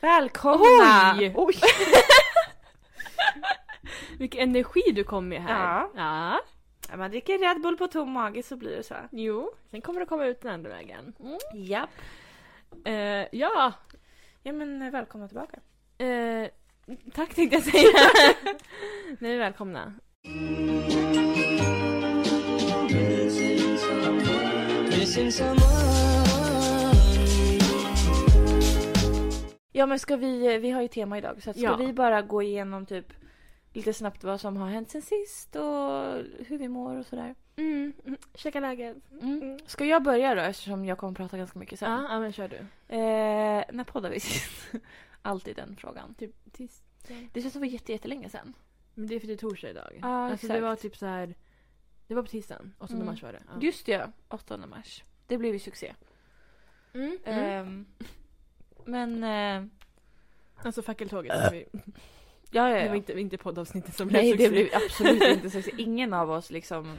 Välkomna! Oj! Oj. Vilken energi du kom med här. Ja. ja. Ja, Man dricker Red Bull på tom mage så blir det så. Jo, sen kommer du komma ut den andra vägen. Mm. Japp. Eh, ja, Ja men eh, välkomna tillbaka. eh, tack tänkte jag säga. Nej, välkomna. Missing someone. Ja men ska vi, eh, vi har ju tema idag så att ska Ja. vi bara gå igenom typ lite snabbt vad som har hänt sen sist och hur vi mår och sådär. Mm, mm, checka läget. Mm. Ska jag börja då eftersom jag kommer prata ganska mycket sen? Ja, ja, men kör du. Eh, när poddade vi sist? Alltid den frågan. Typ tisdag. Det känns som det var jätte- jättelänge sen. Men det är för det är torsdag idag. Ja, alltså det exakt. var typ så här. Det var på tisdagen, 8 Mm. mars var det. Ja. Just det, ja. 8 mars. Det blev ju succé. Mm. Mm. Ehm, men eh, Alltså fackeltåget. det var ju- ja, ja, Det ja. var inte, inte poddavsnittet som blev Nej, succé. det blev absolut inte succé. Ingen av oss liksom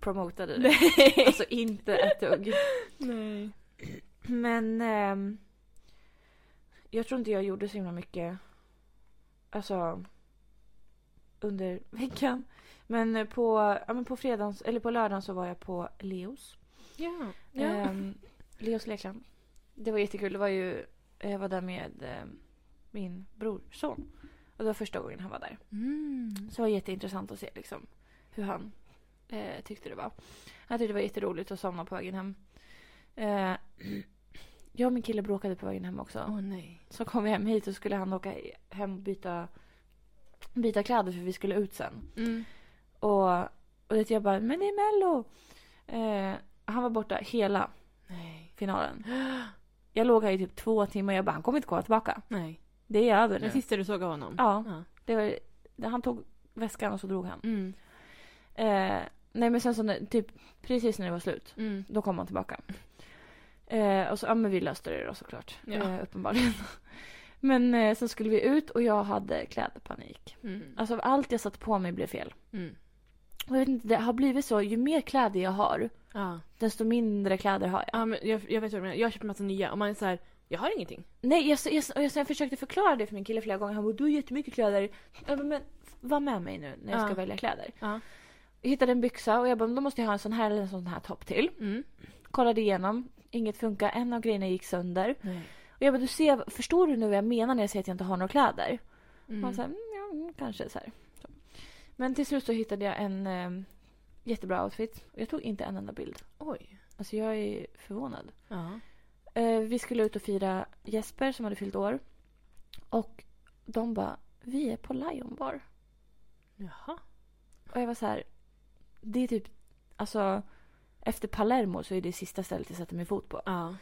promotade det. Nej. Alltså inte ett dugg. Nej. Men ehm, jag tror inte jag gjorde så himla mycket alltså under veckan. Men eh, på, ja, men på fredags, eller på lördagen så var jag på Leos. Ja. ja. Ehm, Leos lekland. Det var jättekul. Det var ju, jag var där med ehm, min brorson. Och det var första gången han var där. Mm. Så det var jätteintressant att se liksom, hur han eh, tyckte det var. Han tyckte det var jätteroligt att somna på vägen hem. Eh, jag och min kille bråkade på vägen hem också. Åh nej. Så kom vi hem hit och skulle han åka hem och byta, byta kläder för vi skulle ut sen. Mm. Och, och vet, jag bara, men det är Mello! Eh, han var borta hela Nej. finalen. Jag låg här i typ två timmar och jag bara, han kommer inte komma tillbaka. Nej. Det är över Det nu. sista du såg av honom? Ja, det var, han tog väskan och så drog han. Mm. Eh, nej men sen så när, typ precis när det var slut, Mm. då kom han tillbaka. Eh, och så, ja men vi löste det då såklart. Ja. Eh, uppenbarligen. Men eh, sen skulle vi ut och jag hade klädpanik. Mm. Alltså allt jag satte på mig blev fel. Mm. Och jag vet inte, det har blivit så. Ju mer kläder jag har, Ja. desto mindre kläder har jag. ja men jag, jag vet vad du menar. Jag köper massa nya och man är så här, jag har ingenting. Nej, jag, jag, jag, jag, jag försökte förklara det för min kille flera gånger. Han bara, du har jättemycket kläder. Jag bara, men var med mig nu när jag ska Ja. välja kläder. Ja. Jag hittade en byxa och jag bara, då måste jag ha en sån här eller en sån här topp till. Mm. kollade igenom, inget funkar, en av grejerna gick sönder. Nej. Och jag bara, du ser, förstår du nu vad jag menar när jag säger att jag inte har några kläder? Mm. Han sa, mm, ja, mm, kanske så här. Så. Men till slut så hittade jag en eh, jättebra outfit. Och Jag tog inte en enda bild. Oj. Alltså jag är förvånad. Ja. Eh, vi skulle ut och fira Jesper som hade fyllt år. Och de bara, vi är på Lion Bar. Jaha. Och jag var så här, det är typ, alltså efter Palermo så är det sista stället jag sätter min fot på. Ja.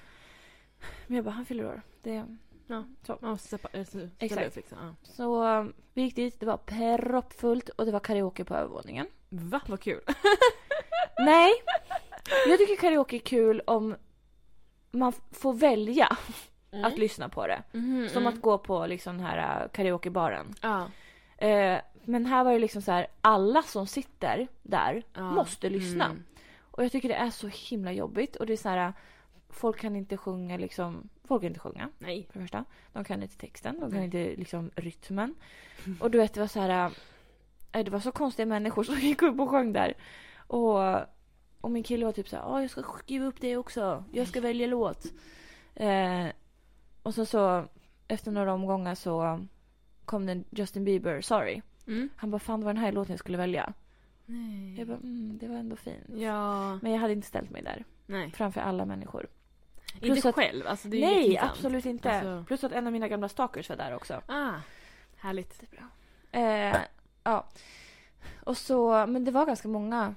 Men jag bara, han fyller år. Det... Ja. Så. Man måste seppa, äh, ställa Exakt. upp liksom. Ja. Så um, vi gick dit, det var proppfullt och det var karaoke på övervåningen. Va? Vad kul. Nej! Jag tycker karaoke är kul om man f- får välja att lyssna på det. Mm. Som att gå på liksom den här uh, karaokebaren. Ja. Eh, men här var det liksom så här, alla som sitter där Ja. måste lyssna. Mm. Och jag tycker det är så himla jobbigt och det är så här, uh, folk kan inte sjunga liksom, folk kan inte sjunga. Nej. för det första. De kan inte texten, de kan Nej. inte liksom rytmen. Och du vet, det var så här... äh, Det var så konstiga människor som gick upp och sjöng där. Och, och min kille var typ så här, "Ja, jag ska skriva upp det också. Jag ska välja låt. Eh, och sen så, efter några omgångar så kom den Justin Bieber, Sorry. Mm. Han bara, fan det var den här låten jag skulle välja. Nej. Jag bara, mm, det var ändå fint. Ja. Men jag hade inte ställt mig där, Nej. framför alla människor. Plus Inte att- själv. Alltså, det är ju Nej, jätteintressant. absolut inte. Alltså- Plus att en av mina gamla stalkers var där också. Ah. Härligt. Äh. Eh, ja. Och så, men det var ganska många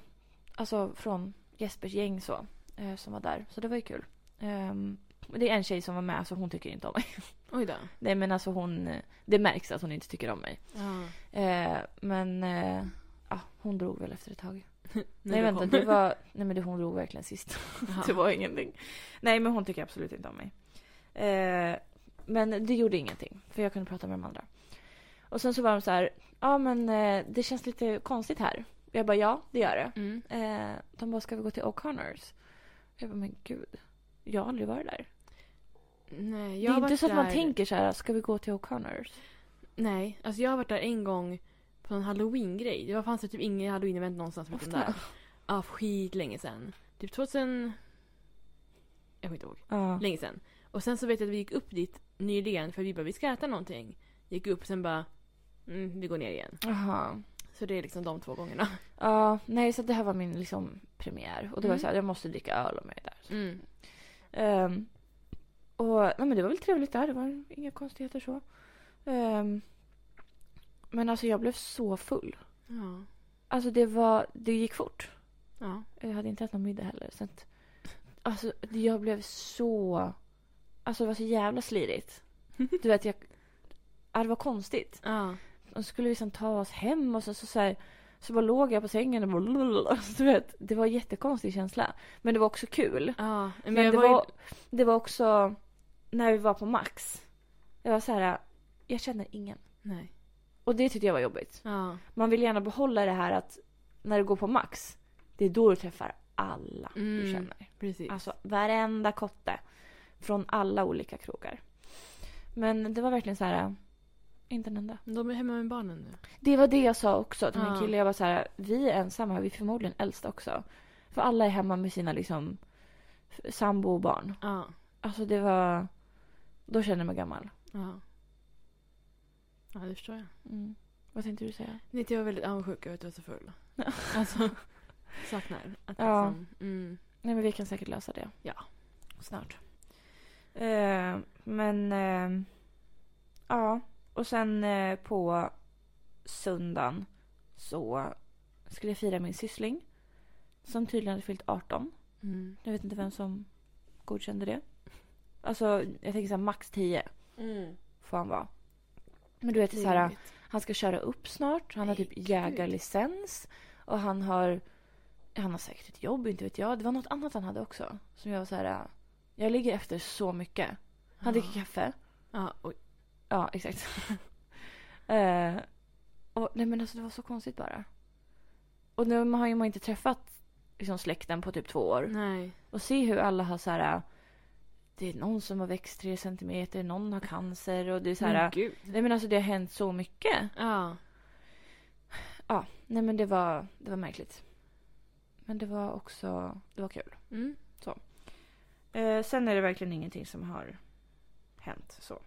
alltså från Jespers gäng så, eh, som var där. Så det var ju kul. Ehm, men det är en tjej som var med, alltså hon tycker inte om mig. Oj då. Nej men alltså hon, det märks att hon inte tycker om mig. Ja. Eh, men eh, ja, hon drog väl efter ett tag. När Nej du vänta, kom. det var, nej men det, hon drog verkligen sist. Jaha. det var ingenting. Nej men hon tycker absolut inte om mig. Eh, men det gjorde ingenting för jag kunde prata med de andra. Och sen så var de så här, ja men eh, det känns lite konstigt här. Jag bara ja, det gör det. Mm. Eh, de bara ska vi gå till O'Connors? Jag bara men gud, jag har aldrig varit där. Nej, Det jag är har inte varit så att man där- tänker så här, ska vi gå till O'Connors? Nej, alltså jag har varit där en gång på en halloween-grej. Det var, fanns det typ ingen halloween-event någonstans förutom där. Ofta. Ja, skit länge sedan. Typ 2000... Jag kommer inte ihåg. Ja. Länge sedan. Och sen så vet jag att vi gick upp dit nyligen för vi bara vi ska äta någonting. Gick upp och sen bara mm, vi går ner igen. Jaha. Så det är liksom de två gångerna. Ja, nej så det här var min liksom premiär. Och det var Mm. så här, jag måste dricka öl om jag är där. Mm. Ehm, och nej, men det var väl trevligt där. Det var inga konstigheter så. Ehm, men alltså jag blev så full. Ja. Alltså det var, det gick fort. Ja. Jag hade inte ätit någon middag heller. Så att, alltså jag blev så, alltså det var så jävla slirigt. Du vet jag, ja, det var konstigt. Ja. Och så skulle vi sen ta oss hem och så, så, så här så bara låg jag på sängen och bara, alltså, du vet, det var en jättekonstig känsla. Men det var också kul. ja. Men, Men, jag det, var, var, ju- det var också när vi var på Max. Jag var så här, jag känner ingen. Nej. Och det tyckte jag var jobbigt. Ja. Man vill gärna behålla det här att när du går på Max, det är då du träffar alla Mm. du känner. Precis. Alltså varenda kotte. Från alla olika krogar. Men det var verkligen så här, inte en enda. De är hemma med barnen nu. Det var det jag sa också till min Ja. kille. Jag var så här, vi är ensamma, vi är förmodligen äldst också. För alla är hemma med sina liksom f- sambo och barn. Ja. Alltså det var, då kände jag mig gammal. Ja. Ja, det förstår jag. Mm. Vad tänkte du säga? Nej, jag var väldigt avundsjuk över att du var så full. Ja. Alltså, saknar. Att Ja. liksom, mm. Nej men vi kan säkert lösa det. Ja. Snart. Eh, men, eh, ja. Och sen eh, på söndagen så skulle jag fira min syssling. Som tydligen hade fyllt 18. Mm. Jag vet inte vem som godkände det. Alltså jag tänker så här, max 10 Mm. får han vara. Men du vet så här, han ska köra upp snart. Han har Nej, typ gud. jägarlicens. Och han har, han har säkert ett jobb, inte vet jag. Det var något annat han hade också. Som jag var så här, äh, jag ligger efter så mycket. Han dricker kaffe. Ja, oj. Ja, exakt. eh, och, nej men alltså det var så konstigt bara. Och nu har ju man inte träffat liksom, släkten på typ två år. Nej. Och se hur alla har så här. äh, Det är någon som har växt tre centimeter, någon har cancer och det är så här. Men gud. Nej men alltså det har hänt så mycket. Ja. Nej men det var, det var märkligt. Men det var också, det var kul. Mm. Eh, sen är det verkligen ingenting som har hänt så.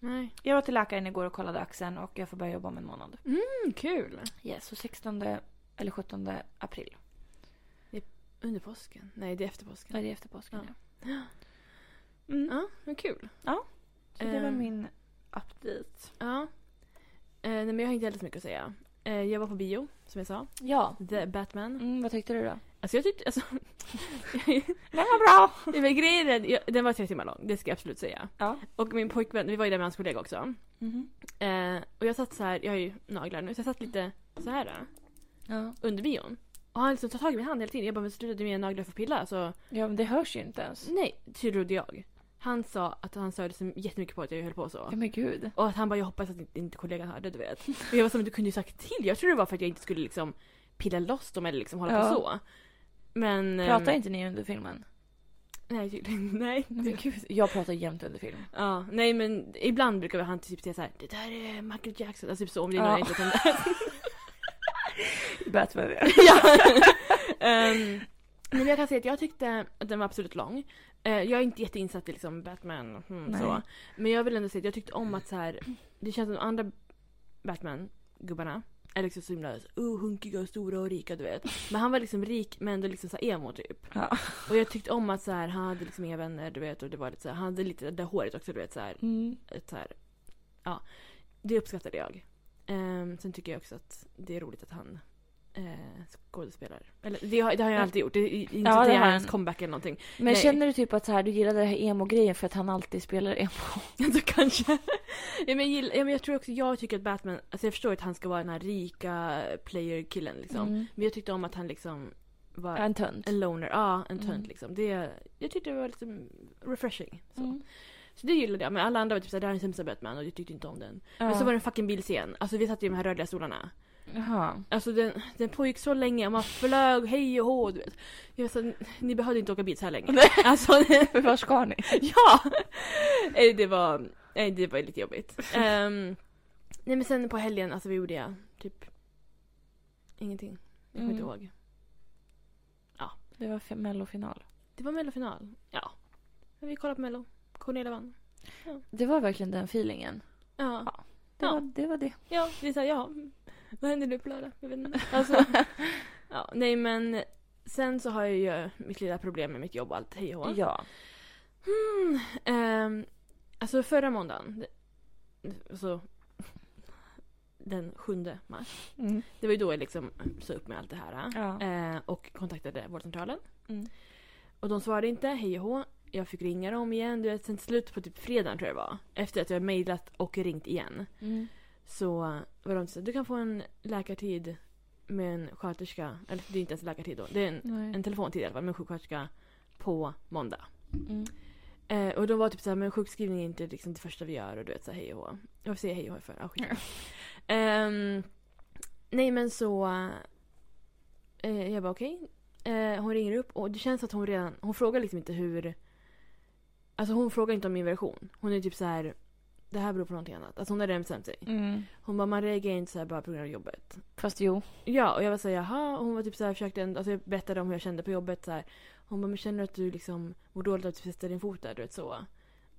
Nej. Jag var till läkaren igår och kollade axeln och jag får börja jobba om en månad. Mm, kul. Yes, så 16 eller 17 april. Under påsken? Nej, det är efter påsken. Ja, det är efter påsken ja. Mm. Ja, men kul. Så det var Ehm. min update. Ja. Eh, nej, men jag har inte heller så mycket att säga. Eh, jag var på bio, som jag sa. Ja. The Batman. Mm, vad tyckte du då? Alltså jag tyckte... Alltså, Den var bra! nej, men grejen är, jag, den var tre timmar lång, det ska jag absolut säga. Ja. Och min pojkvän, vi var ju där med hans kollega också. Mhm. Eh, och jag satt så här, jag har ju naglar nu, så jag satt lite så här eh, ja. under bion. Och han liksom tar tag i min hand hela tiden. Jag bara, men sluta du mina naglar får pilla. Så, Ja, men det hörs ju inte ens. nej, trodde jag. Han sa att han störde sig jättemycket på att jag höll på så. Ja, men gud. Och att han bara, jag hoppas att inte, inte kollegan hörde, du vet. Och jag var som, du kunde ju sagt till. Jag trodde det var för att jag inte skulle liksom pilla loss dem eller liksom hålla på Ja. så. Men... ehm, Pratar inte ni under filmen? Nej, tydligen. Nej. Nej, men gud. Jag pratar jämt under film. Ja, nej men ibland brukar han typ säga så här: det där är Michael Jackson. Alltså typ så om det är Ja. några jag inte vet om Batman. ja. Ehm, nej, men jag kan säga att jag tyckte att den var absolut lång. Eh, jag är inte jätteinsatt i liksom Batman mm, Nej. så. Men jag vill ändå säga att jag tyckte om att så här, det känns som de andra Batman-gubbarna är liksom så himla oh, hunkiga och stora och rika du vet. Men han var liksom rik men ändå liksom så här emo typ. Ja. Och jag tyckte om att så här, han hade liksom inga vänner du vet och det var lite så här, han hade lite det där håret också du vet så här, Mm. ett så här, ja, det uppskattade jag. Ehm, sen tycker jag också att det är roligt att han eh, skådespelar. Eller det har, det har jag alltid gjort. Det är inte Ja, att det det är har hans han. comeback eller någonting. Men Nej. känner du typ att så här, du gillar det här emo-grejen för att han alltid spelar emo? Så kanske. ja, men jag, gillar, ja, men jag tror också, jag tycker att Batman, alltså jag förstår att han ska vara den här rika player-killen liksom. Mm. Men jag tyckte om att han liksom var En tönt. en loner, ja en tönt Mm. liksom. Det, jag tyckte det var lite refreshing. Så. Mm. så det gillade jag. Men alla andra var typ såhär, det här är den sämsta Batman och jag tyckte inte om den. Ja. Men så var det en fucking bilscen. Alltså vi satt ju i de här rörliga stolarna. Jaha. Alltså den, den pågick så länge och man flög hej och hå du vet. Jag var så här, ni behövde inte åka bil så här länge. Alltså, Var ska ni? ja! Nej, det var, nej, det var lite jobbigt. Ehm, nej men sen på helgen, alltså vad gjorde jag? Typ ingenting. Jag kommer inte Mm. ihåg. Det var fe- mellofinal. Det var mellofinal. Ja. Men vi kollade på mello. Cornelia vann. Det var verkligen den feelingen. Ja. Det, Ja. var, det var det. Ja, det är såhär, ja. Vad händer nu på lördag? Jag vet inte. Alltså, ja, nej men sen så har jag ju mitt lilla problem med mitt jobb och allt. Hej och hå. Ja. Mm, ehm, alltså förra måndagen, det- alltså den 7 mars, Mm. det var ju då jag liksom sa upp med allt det här. Ja. Eh, och kontaktade vårdcentralen. Mm. Och de svarade inte, hej och hå. Jag fick ringa dem igen, du vet sen till slut på typ fredagen tror jag det var. Efter att jag mejlat och ringt igen. Mm. Så var de så du kan få en läkartid med en sköterska, eller det är inte ens läkartid då, det är en, Nej. en telefontid i alla fall, med en sjuksköterska på måndag. Mm. Eh, och de var typ såhär, men sjukskrivning är inte liksom det första vi gör och du vet såhär hej och hå. Jag säger hej och hå för, ah, skit. Ehm, nej men så... Eh, jag bara okej. Eh, hon ringer upp och det känns att hon redan, hon frågar liksom inte hur... Alltså hon frågar inte om min version. Hon är typ så här. det här beror på någonting annat. Alltså hon har redan bestämt sig. Mm. Hon bara, man reagerar inte såhär bara på grund av jobbet. Fast jo. Ja, och jag var såhär jaha. Och Hon var typ såhär, försökte ändå, alltså jag berättade om hur jag kände på jobbet såhär. Hon bara, men känner du att du liksom mår dåligt av att du sätter din fot där? Du vet så.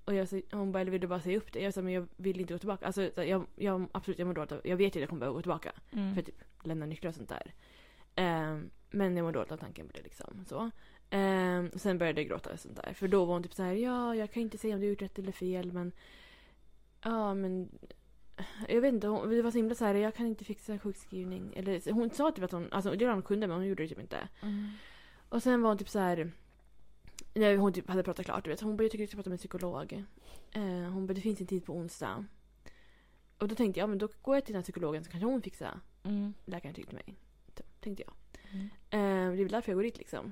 Och jag sa, hon bara, eller vill du bara säga upp det? Jag sa, men jag vill inte gå tillbaka. Alltså så här, jag, jag, absolut, jag mår dåligt av, jag vet ju att jag kommer behöva gå tillbaka. Mm. För typ lämna nycklar och sånt där. Ehm, men jag mår dåligt av tanken på det liksom. Så. Ehm, och sen började jag gråta och sånt där. För då var hon typ så här, ja jag kan inte säga om du har gjort rätt eller fel men... Ja men... Jag vet inte, hon, det var så himla så här, jag kan inte fixa en sjukskrivning. Eller, hon sa typ att hon, alltså det var hon kunde men hon gjorde det typ inte. Mm. Och sen var hon typ så här. När hon typ hade pratat klart, du vet. Hon bara, jag tycker du ska prata med en psykolog. Eh, hon bara, det finns en tid på onsdag. Och då tänkte jag, ja, men då går jag till den här psykologen så kanske hon fixar Mm. läkaren tyckte mig. t- Tänkte jag. Mm. Eh, det är väl därför jag går dit liksom.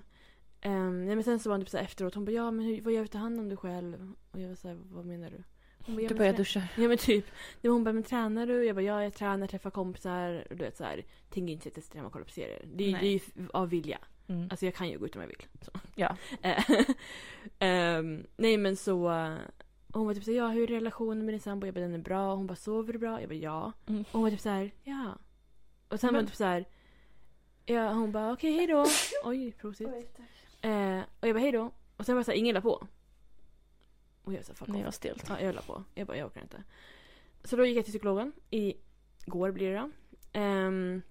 Eh, nej, men sen så var hon typ så här efteråt. Hon bara ja men hur, vad gör du ta hand om dig själv? Och jag var så här, vad menar du? Hon bara, ja, Du men börjar trä- duscha. Ja men typ. Det var hon bara men tränar du? Jag bara ja jag tränar, träffar kompisar. Och du vet så här. Tänker inte sitta hemma och kolla på serier. Det är ju- Nej. det är ju f- av vilja. Mm. Alltså jag kan ju gå ut om jag vill. Så. Ja. Eh, ehm, nej men så. eh, Hon var typ såhär, ja hur är relationen med din sambo? Jag bara den är bra. Hon bara sover du bra? Jag bara ja. Mm. Och hon var typ såhär, ja. Och sen var Men- hon typ såhär. Ja, hon bara okej hej då. Oj prosit. Eh, och jag bara hej då. Och sen var det såhär, ingen la på. Och jag sa fuck Nej off. vad stelt. Ja, jag la på. Jag bara, jag orkar inte. Så då gick jag till psykologen. Igår blir det då. Ehm,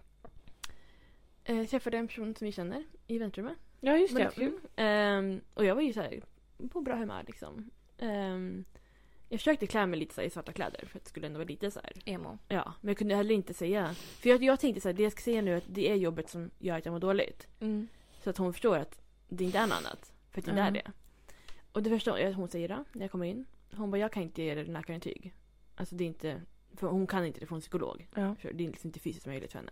eh, träffade en person som vi känner i väntrummet. Ja just Mm. Väldigt kul. Ehm, och jag var ju så här på bra humör liksom. Ehm, jag försökte klä mig lite så här, i svarta kläder för att det skulle ändå vara lite så här. Emo. Ja, men jag kunde heller inte säga. För jag, jag tänkte så här, det jag ska säga nu är att det är jobbet som gör att jag mår dåligt. Mm. Så att hon förstår att det inte är något annat. För att det inte Ja. är det. Och det första hon- hon säger då, när jag kommer in. Hon bara, jag kan inte ge dig läkarintyg. Alltså det är inte, för hon kan inte det från psykolog. Ja. För det är liksom inte fysiskt möjligt för henne.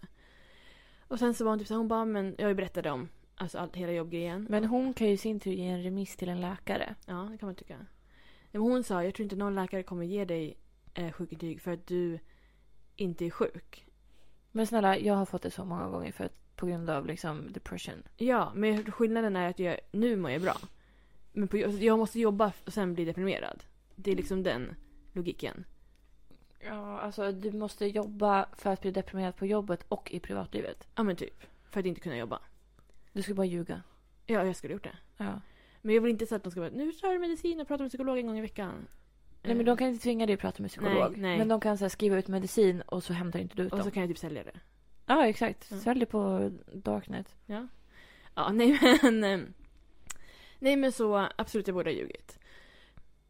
Och sen så var hon typ så här, hon bara, men jag berättade om alltså allt, hela jobbgrejen. Men hon kan ju i sin tur ge en remiss till en läkare. Ja, det kan man tycka. Nej, Men hon sa, jag tror inte någon läkare kommer ge dig eh, sjukintyg för att du inte är sjuk. Men snälla, jag har fått det så många gånger för att på grund av liksom depression. Ja, men skillnaden är att jag, nu mår jag bra. Men på, alltså, jag måste jobba och sen bli deprimerad. Det är liksom den logiken. Ja, alltså du måste jobba för att bli deprimerad på jobbet och i privatlivet. Ja men typ. För att inte kunna jobba. Du ska bara ljuga. Ja, jag skulle ha gjort det. Ja. Men jag vill inte säga att de ska bara, nu tar du medicin och pratar med psykolog en gång i veckan. Nej men de kan inte tvinga dig att prata med psykolog. Nej, nej. Men de kan så här, skriva ut medicin och så hämtar inte du ut Och så dem. kan jag typ sälja det. Ja exakt. Ja. Sälj det på Darknet. Ja, nej men... ehm, Nej men så, absolut jag borde ha ljugit.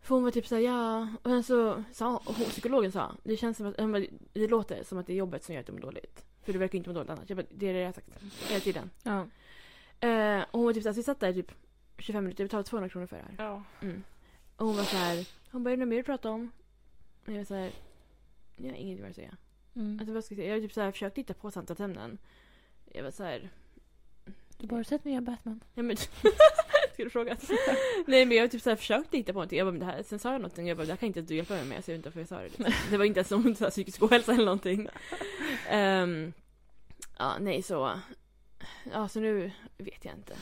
För hon var typ såhär, ja... Och sen så sa hon, psykologen sa, det känns som att, hon bara, det låter som att det är jobbet som gör att du mår dåligt. För du verkar ju inte må dåligt annars. Jag bara, det är det jag har sagt hela tiden. Ja. Eh, och hon var typ såhär, så vi satt där typ 25 minuter, vi betalade 200 kronor för det här. Ja. Mm. Och hon var såhär, hon bara, är det något mer du pratar om? Och jag var såhär, jag har inget mer att säga. Mm. Alltså, vad ska jag säga? Jag har typ såhär försökt hitta på samtalsämnen. Jag var såhär, Du bara, har du sett nya Batman? Ja, men... Ska du fråga? Nej men jag typ så här försökte hitta på någonting. Jag bara, men det här, sen sa jag någonting jag bara, det här kan inte du hjälpa mig med. Så jag vet inte varför jag sa det. Liksom. Det var inte ens om så här, psykisk ohälsa eller någonting. Ehm, Ja, nej så. Ja, så nu vet jag inte.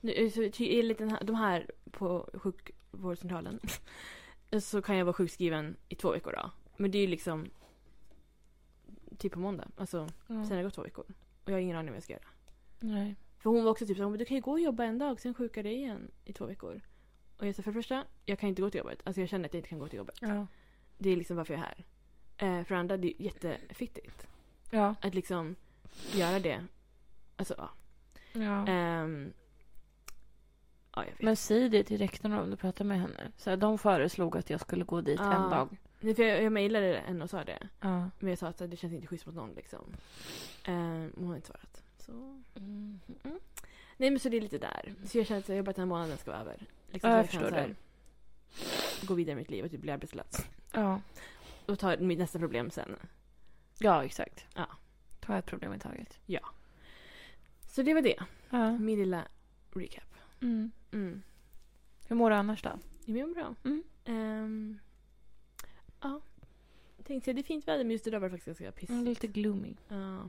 Nu, så, ty- enligt den här, de här på sjukvårdscentralen så kan jag vara sjukskriven i två veckor då. Men det är ju liksom typ på måndag. Alltså Ja. sen har det gått två veckor. Och jag har ingen aning om vad jag ska göra. Nej. För hon var också typ så här, "Men du kan ju gå och jobba en dag sen sjuka dig igen i två veckor. Och jag sa för det första, jag kan inte gå till jobbet. Alltså jag känner att jag inte kan gå till jobbet. Ja. Det är liksom varför jag är här. Eh, för det andra, det är jättefittigt. Ja. Att liksom göra det. Alltså ja. ja. Ehm, ja, jag vet. Men säg det till rektorn om du pratar med henne. Så här, de föreslog att jag skulle gå dit Ja. en dag. Nej, för jag, jag mejlade henne och sa det. Ja. Men jag sa att det känns inte schysst mot någon liksom. Ehm, hon har inte svarat. Så. Mm. Nej men så det är lite där. Så jag känner att jag har jobbat den här månaden ska vara över. Liksom, Ja, så jag kan förstår så här Gå vidare i mitt liv och typ bli arbetslös. ja. Och ta mitt nästa problem sen. Ja, exakt. Ja. Ta ett problem i taget. Så det var det. Ja. Min lilla recap. Mm. Mm. Hur mår du annars då? Jo, men jag mår bra. Mm. Ehm, ja. Tänkte säga det är fint väder men just idag var det faktiskt ganska pissigt. Mm, lite gloomy. Ja.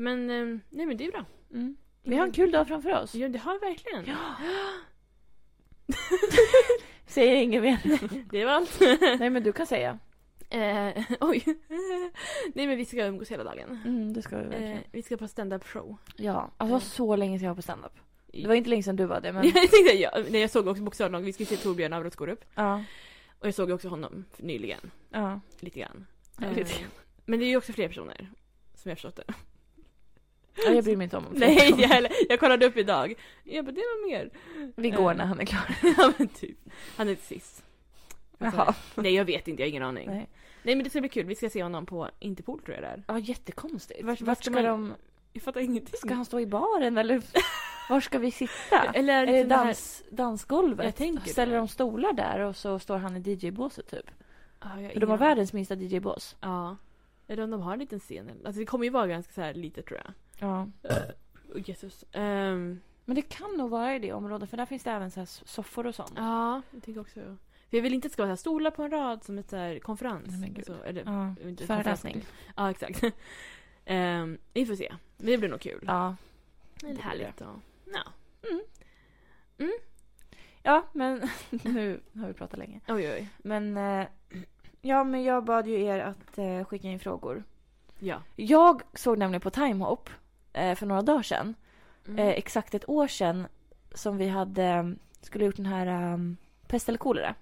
Men, ehm, nej men det är bra. Mm. Vi har en kul dag framför oss. Ja, det har vi verkligen. Säger ingen mer. Det var allt. Nej, men du kan säga. Eh, oj. Nej men vi ska umgås hela dagen. Mm, det ska vi Eh, verkligen. vi ska på stand-up show. Ja, alltså det var så länge sedan jag var på standup. Det Det var inte länge sedan du var det, men... jag, tänkte, ja, nej, jag såg också bokstavligt nog, vi ska se Torbjörn Averoth Skorup. Ja. Och jag såg också honom för- nyligen. Ja. Lite grann. Ja, lite Eh, men det är ju också fler personer. Som jag har förstått det. Ja, Jag bryr mig inte om honom. Nej, jag, eller- jag kollade upp idag. Jag bara, det är någon mer. Vi går när han är klar. ja men typ. Han är sist. Jaha. Nej jag vet inte, jag har ingen aning. Nej. Alltså, Nej. men det ska bli kul, vi ska se honom på Interpol tror jag det är. Ja, jättekonstigt. Vart- Vart, vart ska, ska man- de... Jag fattar ingenting. Ska han stå i baren eller var ska vi sitta? Eller Är det liksom det här- dans, dansgolvet? Jag tänker Ställer det. de stolar där och så står han i DJ-båset typ? Ja, jag För de har ingen aning. världens minsta DJ-bås. Ja. Eller om de har en liten scen. eller- Alltså det kommer ju vara ganska så här lite tror jag. Ja. Oh, Jesus. Ehm, Men det kan nog vara i det området för där finns det även så här soffor och sånt. ja, jag tänker också. För jag vill inte att det ska vara så här stolar på en rad som ett så här konferens. Nej, men gud. Så, eller, Ja. inte, Föreläsning. konferens. Ja, exakt. Ehm, vi får se. Men det blir nog kul. Ja. det blir härligt. Ja. Ja. Ja, men nu har vi pratat länge. Oj, oj. Men eh, ja, men jag bad ju er att eh, skicka in frågor. Ja. Jag såg nämligen på Timehop eh, för några dagar sedan Mm. eh, exakt ett år sedan som vi hade, eh, skulle gjort den här ehm, Pest eller kolera.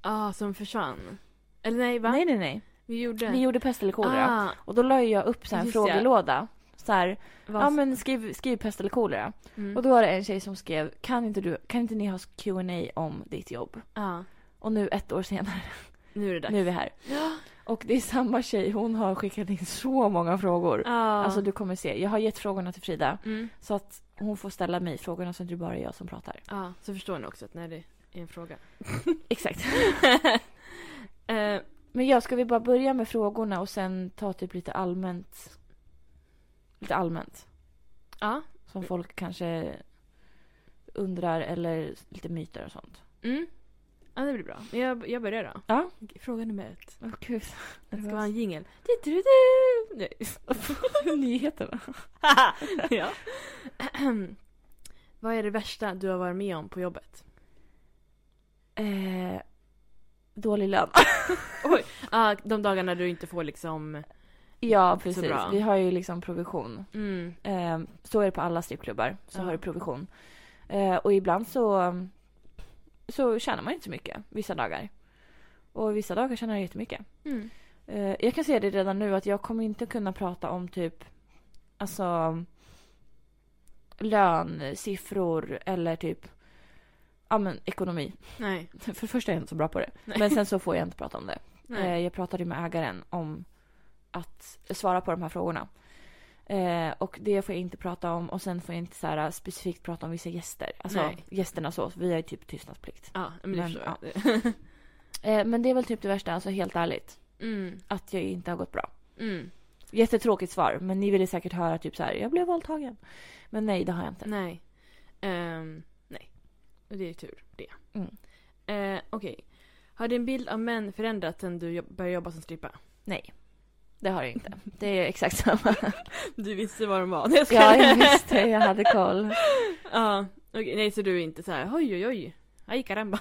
Ah, som försvann. Eller nej, va? Nej, nej, nej. Vi gjorde... Vi gjorde Pest eller kolera. Ah, Och då la ju jag upp så här en Just det. frågelåda. Så här, vad... ja men skriv, skriv pest eller kolera. mm. Och då var det en tjej som skrev, kan inte, du, kan inte ni ha Q&A om ditt jobb? Ja, Och nu ett år senare, Ah, nu är det dags. nu är vi här. Ja. Och det är samma tjej, hon har skickat in så många frågor. Ah. Alltså du kommer se, jag har gett frågorna till Frida. Mm. Så att hon får ställa mig frågorna så att det bara är jag som pratar. Ja, Ah, så förstår ni också att när det är en fråga. Exakt. Eh, Men ja, ska vi bara börja med frågorna och sen ta typ lite allmänt. Lite allmänt. Ja. Som folk kanske undrar eller lite myter och sånt. Mm. Ja, det blir bra. Men Jag, jag börjar då. Ja. Fråga nummer ett. Åh gud. Det ska vara en jingel. Du-du-du-du. Nej. Nyheterna. ja. Vad är det värsta du har varit med om på jobbet? Eh, dålig lön. Ja, de dagarna du inte får liksom... ja, Så precis. bra. Vi har ju liksom provision. Mm. Eh, så är det på alla strippklubbar. Så Ja. har du provision. Eh, och ibland så, så tjänar man inte så mycket vissa dagar. Och vissa dagar tjänar jag jättemycket. Mm. Eh, jag kan säga det redan nu att jag kommer inte kunna prata om typ alltså lön, siffror eller typ ja men ekonomi. Nej. För det första är jag inte så bra på det. Nej. Men sen så får jag inte prata om det. Nej. Eh, jag pratade med ägaren om att svara på de här frågorna. Eh, och det får jag inte prata om och sen får jag inte så här eh, specifikt prata om vissa gäster. Alltså Nej. gästerna så, vi har ju typ tystnadsplikt. Ja, men det Men, förstår ja. jag. Eh, men det är väl typ det värsta, alltså helt ärligt. Mm. Att jag inte har gått bra. Mm. Jättetråkigt svar, men ni ville säkert höra typ så här, jag blev våldtagen. Men nej, det har jag inte. Nej. Ehm, nej. Och det är tur det. Mm. Eh, Okej. Har din bild av män förändrats sen du jobb- började jobba som strippa? Nej. det har jag inte. Det är exakt samma. Du visste vad de var. Nej, jag Ja, skojar. jag visste. Jag hade koll. Ja, okej, nej så du är inte så här oj oj oj. Aj caramba.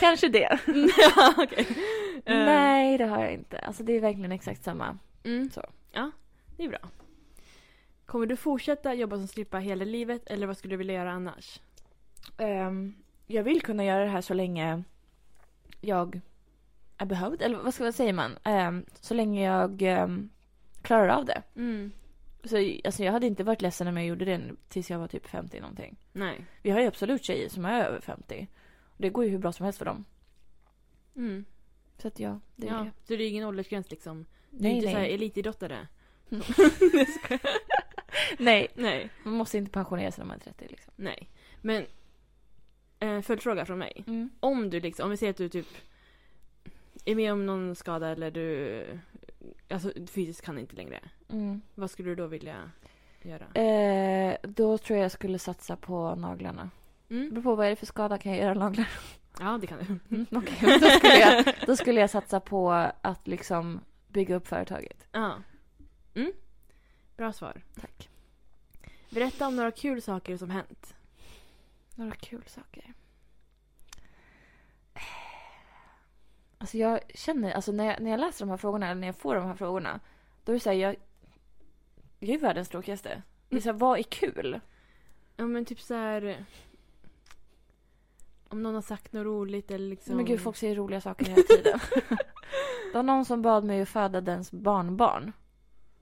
Kanske det. ja, okej. Eh, Nej, det har jag inte. Alltså det är verkligen exakt samma. Mm. Så. Ja, det är bra. Kommer du fortsätta jobba som strippa hela livet eller vad skulle du vilja göra annars? Ehm, jag vill kunna göra det här så länge jag är behövd. Eller vad ska vad säger man? Ehm, så länge jag ehm, klarar av det. Så, alltså, jag hade inte varit ledsen om jag gjorde det tills jag var typ 50 någonting. Nej. Vi har ju absolut tjejer som är över 50. Det går ju hur bra som helst för dem. Mm. Så att ja, det är Ja, det. så det är ingen åldersgräns liksom? du är Nej, inte så här nej. Mm. elitidrottare? nej, Nej. man måste inte pensionera sig när man är 30 liksom. Nej. Men, eh, följdfråga från mig. Mm. Om du liksom, om vi säger att du typ är med om någon skada eller du alltså fysiskt kan inte längre. Mm. Vad skulle du då vilja göra? Eh, då tror jag jag skulle satsa på naglarna. Det Mm. beror på vad är det för skada. Kan jag göra naglar? Ja, det kan du. Mm, okej. då, skulle jag, då skulle jag satsa på att liksom bygga upp företaget. Ja. Mm. Bra svar. Tack. Berätta om några kul saker som hänt. Några kul saker. Alltså jag känner, alltså när jag, när jag läser de här frågorna eller när jag får de här frågorna. Då är det såhär, jag, jag är världens tråkigaste. Det är så här, vad är kul? Ja men typ så här. Om någon har sagt något roligt eller liksom. Men gud, folk säger roliga saker hela tiden. det var någon som bad mig att föda dens barnbarn.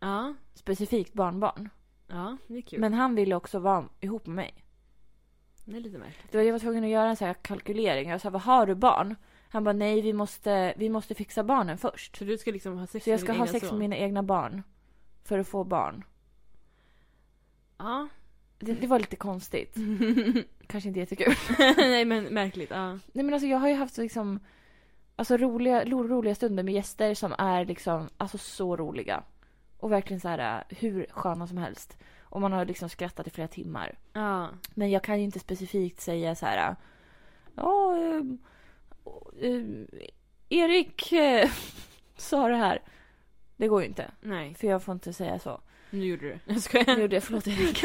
Ja. Specifikt barnbarn. Ja, det är kul. Men han ville också vara ihop med mig. Det är lite märkligt. Då jag var tvungen att göra en så här kalkylering. Jag sa, vad har du barn? Han bara, nej vi måste, vi måste fixa barnen först. Så du ska liksom ha sex Så jag ska din ha egna sex son? med mina egna barn. För att få barn. Ja. Det, det var lite konstigt. Kanske inte jättekul. Nej men märkligt. Ja. Nej men alltså jag har ju haft liksom Alltså roliga, ro- roliga stunder med gäster som är liksom Alltså så roliga. Och verkligen så här eh, hur sköna som helst. Och man har liksom skrattat i flera timmar. Ja. Men jag kan ju inte specifikt säga så här. eh, Ja, ehm, ehm, Erik eh, sa det här. Det går ju inte. Nej. För jag får inte säga så. Nu gjorde du. Jag skojar. Nu gjorde jag, förlåt Erik.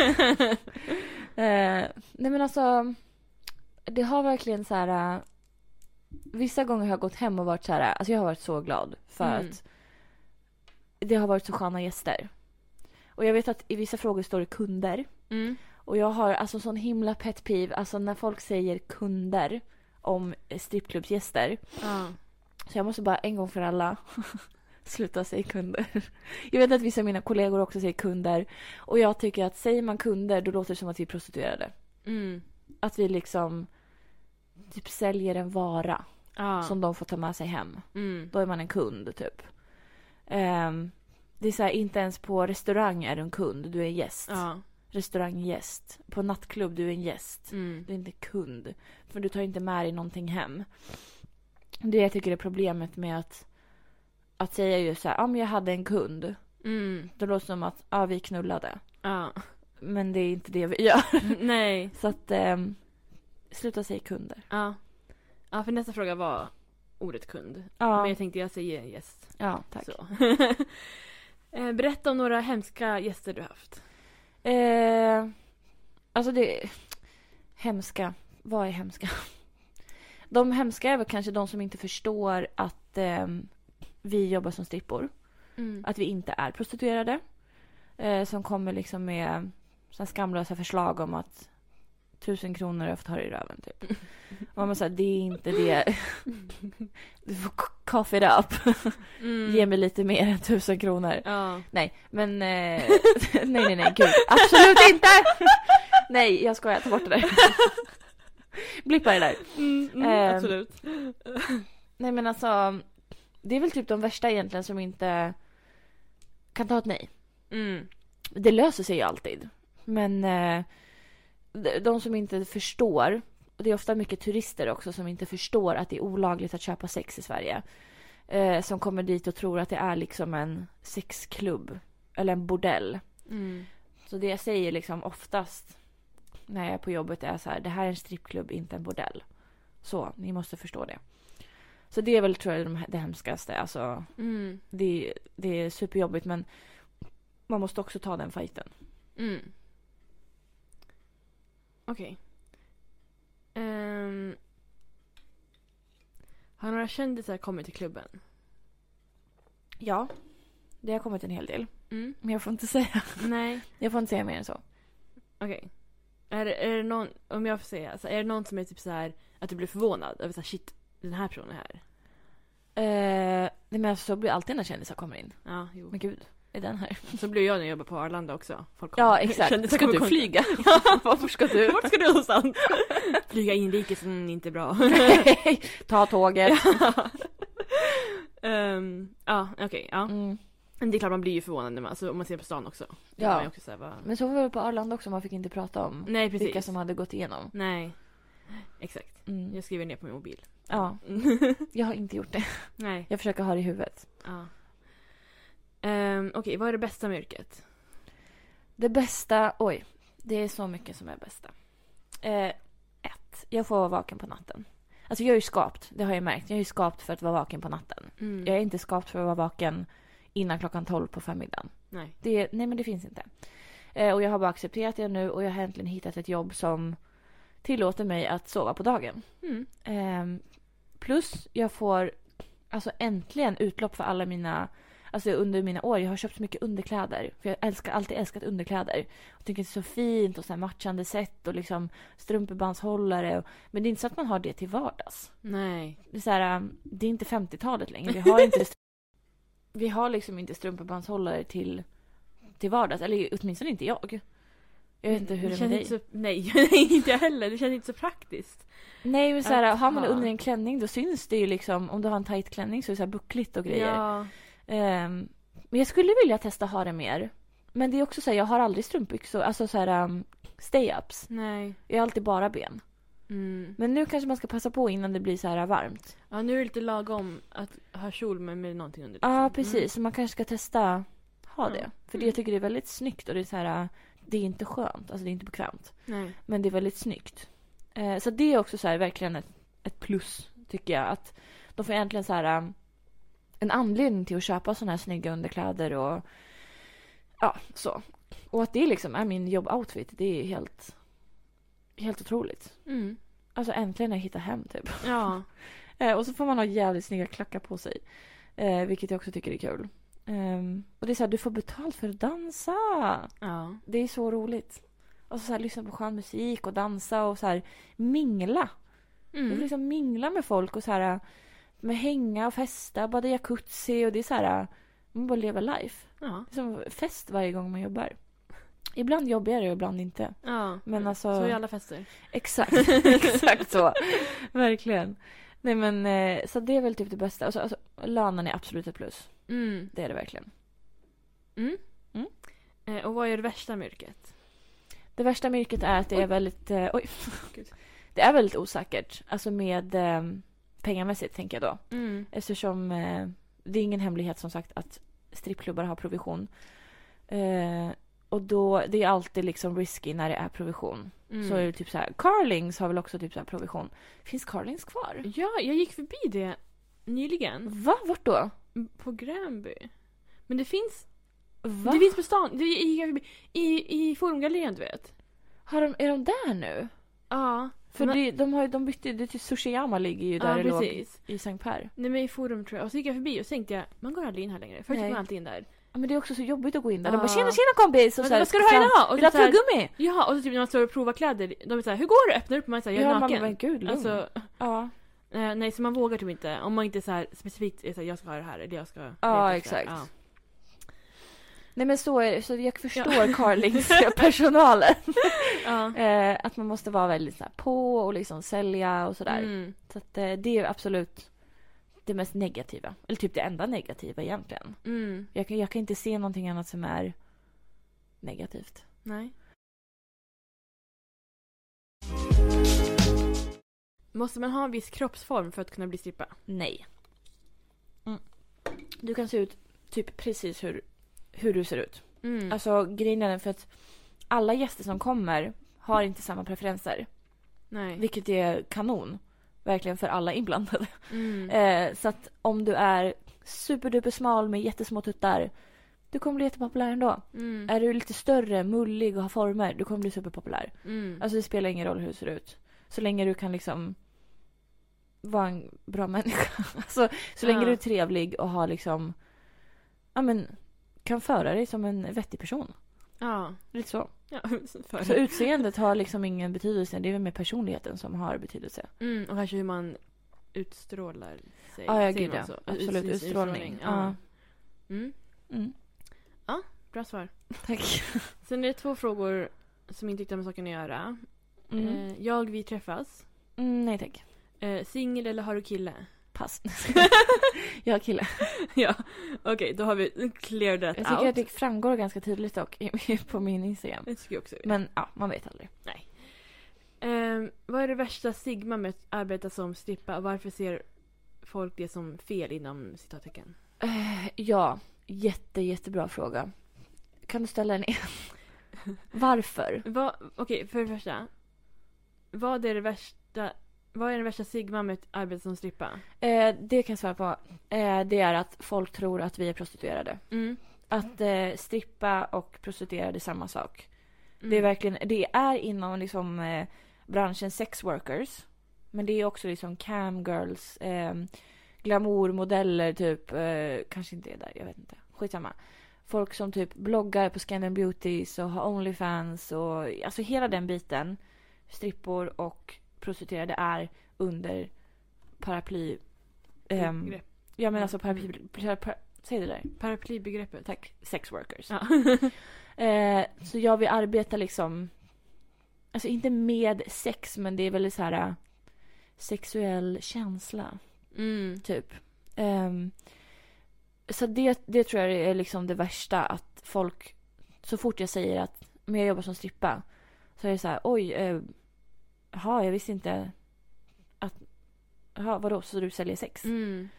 Eh, nej men alltså. Det har verkligen så här. eh, vissa gånger har jag gått hem och varit så här. eh, Alltså jag har varit så glad för Mm. att det har varit så sköna gäster. Och jag vet att i vissa frågor står det kunder. Mm. Och jag har alltså sån himla pet peeve. Alltså när folk säger kunder om strippklubbsgäster. Ja. Så jag måste bara en gång för alla sluta säga kunder. Jag vet att vissa av mina kollegor också säger kunder. Och jag tycker att säger man kunder då låter det som att vi är prostituerade. Mm. Att vi liksom typ säljer en vara Ja. som de får ta med sig hem. Mm. Då är man en kund typ. Ehm, det är så här, inte ens på restaurang är du en kund, du är en gäst. Ja. Restauranggäst. På nattklubb, du är en gäst. Mm. Du är inte kund. För du tar inte med dig någonting hem. Det jag tycker är problemet med att, att säga ju så här, ja ah, men jag hade en kund. Mm. Det låter som att, ja ah, vi knullade. Ja. Men det är inte det vi gör. Nej. Så att, ehm, sluta säga kunder. Ja. Ja, för nästa fråga var ordet kund. Men Ja, jag tänkte jag säger gäst. ja tack. Så. Eh, Berätta om några hemska gäster du haft. Eh, alltså det... Hemska. Vad är hemska? De hemska är väl kanske de som inte förstår att ehm, vi jobbar som strippor. att vi inte är prostituerade. Eh, som kommer liksom med så här skamlösa förslag om att tusen kronor jag får ta dig i röven typ. Och man bara såhär, det är inte det. Du får k- cough it up. Mm. Ge mig lite mer än tusen kronor. Ja. Nej, men eh, nej, nej, nej, gud. Absolut inte! nej, jag skojar, ta bort det där. Blippa det där. Eh, Ehm. absolut. Nej men alltså, det är väl typ de värsta egentligen som inte kan ta ett nej. Mm. Det löser sig ju alltid. Men eh, de- de som inte förstår, och det är ofta mycket turister också som inte förstår att det är olagligt att köpa sex i Sverige. Eh, som kommer dit och tror att det är liksom en sexklubb eller en bordell. Mm. Så det jag säger liksom oftast när jag är på jobbet är så här, det här är en strippklubb, inte en bordell. Så, ni måste förstå det. Så det är väl tror jag de- det hemskaste. Alltså, Mm. det, det är superjobbigt men man måste också ta den fighten. Mm. Okej. Ehm. har några kändisar kommit till klubben? Ja, det har kommit en hel del. Mm. Men jag får inte säga, Nej. jag får inte säga mer än så. Okej. Är, det- är det någon, om jag får säga, alltså, är det någon som är typ så här att du blir förvånad över så här, shit, den här personen är här? Eh, nej, men alltså, så blir alltid när kändisar kommer in. Ja, jo. Men gud, är den här? Så blir jag när jag jobbar på Arlanda också. Folk Ja, kommer- exakt. kändisar Ska kommer du komma. flyga? Varför ska du? Vart ska du någonstans? Flyga inrikes, mm, inte bra. Ta tåget. Ehm, ja, okej. ja. Mm. Men Det är klart man blir ju förvånad när man, alltså, om man ser på stan också. Då Ja. är man ju också så här, bara... Men så var det på Arlanda också, man fick inte prata om Nej, precis. vilka som hade gått igenom. Nej. Exakt. Mm. Jag skriver ner på min mobil. Ja, jag har inte gjort det. Nej. Jag försöker ha det i huvudet. Ja. Ehm, okej, vad är det bästa med yrket? Det bästa, oj, det är så mycket som är bästa. Eh, ett, jag får vara vaken på natten. Alltså jag är ju skapt, det har jag märkt. Jag är ju skapt för att vara vaken på natten. Mm. Jag är inte skapt för att vara vaken innan klockan 12 på förmiddagen. Nej. Det, nej men det finns inte. Eh, och jag har bara accepterat det nu och jag har äntligen hittat ett jobb som tillåter mig att sova på dagen. Mm. Ehm, plus jag får alltså äntligen utlopp för alla mina, alltså under mina år. Jag har köpt så mycket underkläder. För jag älskar, alltid älskat underkläder. Jag tycker det är så fint och så här matchande sätt och liksom strumpebandshållare. Och, men det är inte så att man har det till vardags. Nej. Det är, så här, um, det är inte 50-talet längre. Vi har inte, vi har liksom inte strumpebandshållare till, till vardags. Eller åtminstone inte jag. Jag vet inte hur det är med känns dig. inte så, Nej, nej, inte jag heller. Det känns inte så praktiskt. Nej men så här, Att har man det ha. under en klänning då syns det ju liksom. Om du har en tight klänning så är det så här buckligt och grejer. Ja. Ehm, men jag skulle vilja testa ha det mer. Men det är också så här, jag har aldrig strumpbyxor. Alltså så här um, stay-ups. Nej. Jag har alltid bara ben. Mm. Men nu kanske man ska passa på innan det blir så här varmt. Ja, nu är det lite lagom att ha kjol med, med någonting under. Ja liksom. precis, så man kanske ska testa ha det. Ja. Mm. För det jag tycker det är väldigt snyggt och det är så här, uh, det är inte skönt, alltså det är inte bekvämt. Mm. Nej. Men det är väldigt snyggt. Eh, så det är också så här verkligen ett, ett plus tycker jag. Att de får äntligen så här um, en anledning till att köpa sådana här snygga underkläder och ja, så. Och att det liksom är min jobboutfit, det är helt, helt otroligt. Mm. Alltså äntligen har jag hittat hem typ. Ja. Eh, och så får man ha jävligt snygga klackar på sig. Eh, vilket jag också tycker är kul. Ehm, och det är så här, du får betalt för att dansa. ja. Det är så roligt. Och så, så här, lyssna på skön musik och dansa och så här mingla. Du får Mm. liksom mingla med folk och så här med hänga och festa, bada i jacuzzi och det är så här man bara lever life. Ja. Det är som fest varje gång man jobbar. Ibland jobbigare och ibland inte. ja. Men alltså- Mm. Så är alla fester. Exakt, exakt så. Verkligen. Nej men eh, så det är väl typ det bästa. Alltså, alltså, lönen är absolut ett plus. Mm. Det är det verkligen. Mm. Mm. Eh, och vad är det värsta med yrket? Det värsta med yrket är att det Oj. är väldigt, eh, oj, Gud. det är väldigt osäkert. Alltså med eh, pengamässigt tänker jag då. Mm. Eftersom eh, det är ingen hemlighet som sagt att strippklubbar har provision. Eh, och då, det är alltid liksom risky när det är provision. Mm. Så är det typ så här, Carlings har väl också typ så här provision. Finns Carlings kvar? Ja, jag gick förbi det nyligen. Va? Vart då? På Gränby. Men det finns, Va? det finns på stan. Det, jag gick förbi, I, i Forumgallerian, du vet. Har de, är de där nu? Ja. För Men- det, de, har, ju- de bytte, det är typ Sushiyama ligger ju där ja, det låg precis. i Sankt Per. Nej men i forum tror jag. Och så gick jag förbi och så tänkte jag, man går aldrig in här längre. Förut gick Nej. man alltid in där. Ja, men det är också så jobbigt att gå in där. De Ja. bara tjena tjena kompis! Och Men så här, vad ska du ha idag? Och Vill du ha så här- tuggummi? Ja, och så typ när man står och provar kläder, de är såhär, hur går det? Öppnar upp och man är såhär, jag är Ja, man bara, naken. men gud lugn. alltså, ja. eh, nej så man vågar typ inte. Om man inte så här specifikt är såhär, jag ska ha det här eller jag ska... jag Ja, vet inte, så här, exakt. Ja. Nej men så är det. Så jag förstår Carlings personalen. ja. Eh, att man måste vara väldigt så här, på och liksom sälja och sådär. Mm. Så att, eh, det är absolut det mest negativa. Eller typ det enda negativa egentligen. Mm. Jag kan, jag kan inte se någonting annat som är negativt. Nej. Måste man ha en viss kroppsform för att kunna bli strippa? Nej. Mm. Du kan se ut typ precis hur, hur du ser ut. Mm. Alltså grejen är den för att alla gäster som kommer har inte samma preferenser. nej. Vilket är kanon. verkligen för alla inblandade. Mm. Eh, så att om du är superduper smal med jättesmå tuttar, du kommer bli jättepopulär ändå. Mm. Är du lite större, mullig och har former, du kommer bli superpopulär. Mm. Alltså det spelar ingen roll hur du ser ut. Så länge du kan liksom vara en bra människa. Alltså, så länge Ja. du är trevlig och har liksom, ja men, kan föra dig som en vettig person. Ja. Lite så. ja. Så För. utseendet har liksom ingen betydelse, det är väl mer personligheten som har betydelse. Mm. Och kanske hur man utstrålar sig. Ja, ja Säger gud man ja. så? Absolut, Ut- utstrålning. Ja. Ja. Mm. Mm. Bra svar. Tack. Sen är det två frågor som inte riktigt har med saken att göra. Mm. Eh, jag, vi träffas. Mm, nej tack. Eh, Singel eller har du kille? Pass. jag har kille. ja, okej då har vi clear that Jag tycker out. att det framgår ganska tydligt dock i- på min Instagram. Det tycker jag också. Men ja, man vet aldrig. Eh, vad är det värsta Sigma med att arbeta som strippa? Varför ser folk det som fel inom citattecken? Eh, ja, jätte, jättebra fråga. Kan du ställa den igen? Varför? Va, Okej, för det första. Vad är det värsta, vad är det värsta Sigma med att arbeta som strippa? Eh, det kan jag svara på. Eh, det är att folk tror att vi är prostituerade. Mm. Att eh, strippa och prostituerade är samma sak. Mm. Det är verkligen, det är inom liksom eh, branschen sex workers. Men det är också liksom camgirls, eh, glamourmodeller typ. Eh, kanske inte är där, jag vet inte. Skitsamma. Folk som typ bloggar på Scandal Beauties och har Onlyfans och alltså hela den biten. Strippor och prostituerade är under paraply. ehm, Begrepp. ja men alltså Mm. paraply, para, para, säg det där. Paraplybegreppet. Tack. Sex workers. Ja. Eh, så jag vill arbeta liksom, alltså inte med sex men det är väl så här eh, sexuell känsla mm. typ. Ehm, så det, det tror jag är liksom det värsta att folk, så fort jag säger att men jag jobbar som strippa så är det så här oj, eh, jaha jag visste inte att, jaha vadå så du säljer sex? Mm.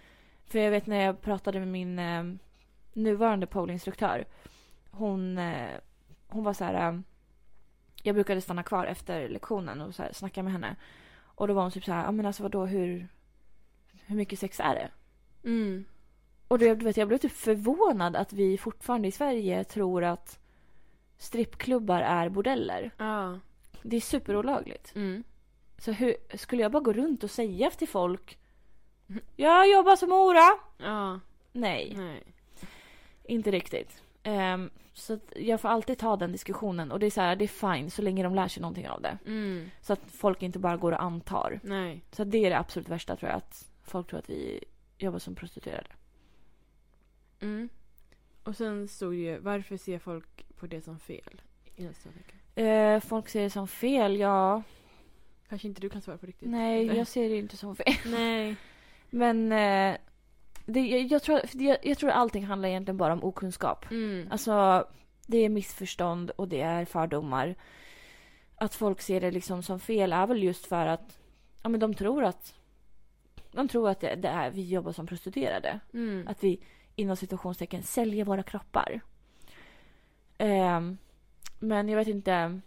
För jag vet när jag pratade med min eh, nuvarande polinstruktör. Hon, eh, hon var så här. Eh, jag brukade stanna kvar efter lektionen och så här, snacka med henne. Och då var hon typ så här, ja men alltså vadå hur, hur mycket sex är det? Mm. Och då, du vet, jag blev typ förvånad att vi fortfarande i Sverige tror att strippklubbar är bordeller. Ja. Det är superolagligt. Mm. Så hur, skulle jag bara gå runt och säga till folk, jag jobbar som hora? Ja. Nej. Nej. Inte riktigt. Ehm, så att jag får alltid ta den diskussionen och det är så här, det är fine så länge de lär sig någonting av det. Mm. Så att folk inte bara går och antar. Nej. Så att det är det absolut värsta tror jag, att folk tror att vi jobbar som prostituerade. Mm. Och sen stod det ju varför ser folk på det som fel? I nästa vecka. Eh, folk ser det som fel, ja. Kanske inte du kan svara på riktigt. Nej, jag ser det ju inte som fel. Nej. Men eh, det, jag, jag, tror, för jag, jag tror allting handlar egentligen bara om okunskap. Mm. Alltså, det är missförstånd och det är fördomar. Att folk ser det liksom som fel är väl just för att ja, men de tror att de tror att det, det är, vi jobbar som prostituerade. Mm. Att vi inom situationstecken säljer våra kroppar. Ehm, men jag vet inte.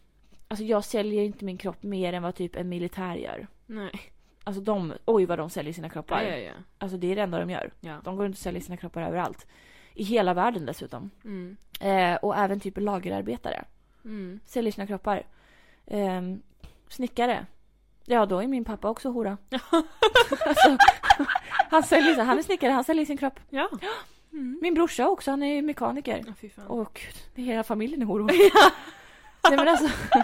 Alltså jag säljer inte min kropp mer än vad typ en militär gör. Nej. Alltså de, oj vad de säljer sina kroppar. Ja, ja, ja. Alltså det är det enda de gör. ja. De går runt och säljer sina kroppar överallt. I hela världen dessutom. Mm. Eh, och även typ lagerarbetare. Mm. Säljer sina kroppar. Eh, snickare. Ja, då är min pappa också hora. alltså, han, säljer, sig- han är snickare, han säljer sin kropp. Ja. Mm. Min brorsa också, han är mekaniker. Ja, fy fan. Åh gud, det är hela familjen är horor. Nej men alltså.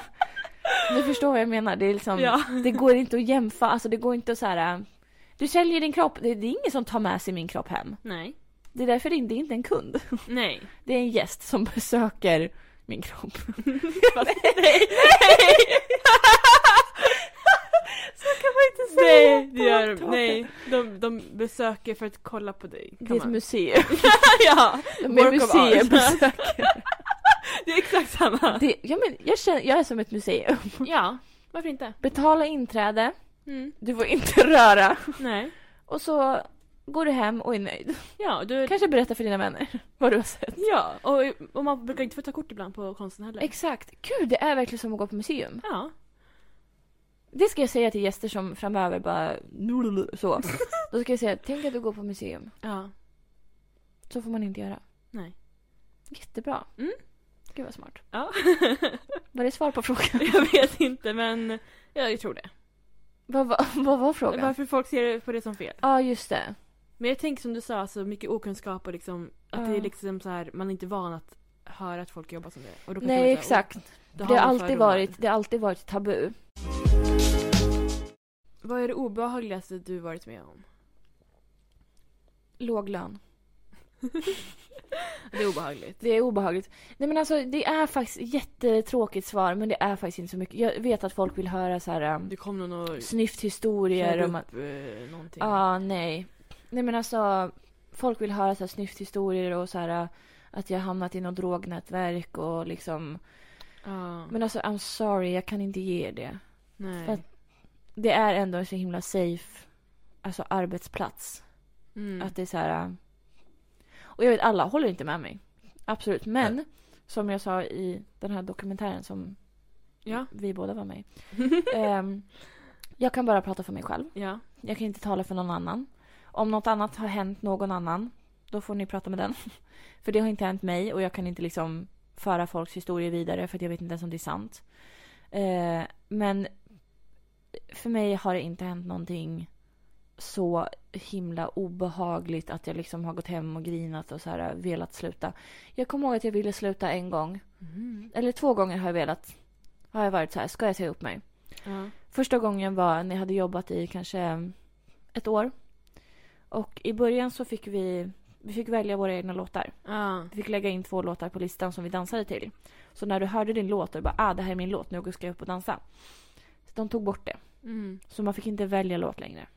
Du förstår vad jag menar. Det, är liksom, ja. det går inte att jämföra, alltså det går inte att så här. eh, Du säljer din kropp, det, det är ingen som tar med sig min kropp hem. Nej. Det är därför det inte det är inte en kund. Nej. Det är en gäst som besöker min kropp. Nej. Så kan man inte säga. Nej, det gör de. Nej. De, de besöker för att kolla på dig. Det kan är ett man. museum. ja, De Work är of museibesök. det är exakt samma. Det, ja, men jag, känner, jag är som ett museum. Ja, varför inte? Betala inträde, Mm. du får inte röra. Nej. Och så går du hem och är nöjd. Ja, du... Kanske berätta för dina vänner vad du har sett. Ja, och, och man brukar inte få ta kort ibland på konsten heller. Exakt. Gud, det är verkligen som att gå på museum. Ja. Det ska jag säga till gäster som framöver bara så. Då ska jag säga, tänk att du går på museum. Ja. Så får man inte göra. Nej. Jättebra. Mm. Gud vad smart. Ja. Var det svar på frågan? jag vet inte men ja, jag tror det. vad, vad, vad var frågan? Ja Varför folk ser på det som fel. just det. Men jag tänker som du sa, alltså, mycket okunskap och liksom, att det är Ja. liksom så här, man är inte van att höra att folk jobbar som det. Och då kanske Nej man är så här, exakt. "Oh, då Det har, man alltid fördomar." varit, det har alltid varit tabu. Vad är det obehagligaste du varit med om? Låg lön. Det är obehagligt. Det är obehagligt. Nej men alltså det är faktiskt jättetråkigt svar men det är faktiskt inte så mycket. Jag vet att folk vill höra så här um, Det kom någon och snyfthistorier. Om att, upp eh, någonting. ja, nej. Nej men alltså folk vill höra så här snyfthistorier och så här uh, att jag hamnat i något drognätverk och liksom. Ja. Men alltså I'm sorry jag kan inte ge er det. Nej. för att- Det är ändå en så himla safe alltså arbetsplats. mm. Att det är så här... äh, Och jag vet, alla håller inte med mig. Absolut. Men som jag sa i den här dokumentären som Ja. vi båda var med i. ehm, jag kan bara prata för mig själv. ja. Jag kan inte tala för någon annan. Om något annat har hänt någon annan, då får ni prata med den. för det har inte hänt mig och jag kan inte liksom föra folks historier vidare för att jag vet inte ens om det är sant. Eh, men för mig har det inte hänt någonting så himla obehagligt att jag liksom har gått hem och grinat och så här velat sluta. Jag kommer ihåg att jag ville sluta en gång. Mm. Eller två gånger har jag velat. Har jag varit så här, ska jag säga upp mig? ja. Första gången var när jag hade jobbat i kanske ett år. Och i början så fick vi, vi fick välja våra egna låtar. Ja. Vi fick lägga in två låtar på listan som vi dansade till. Så när du hörde din låt, du bara ah det här är min låt, nu ska jag upp och dansa. Så de tog bort det. Mm. Så man fick inte välja låt längre.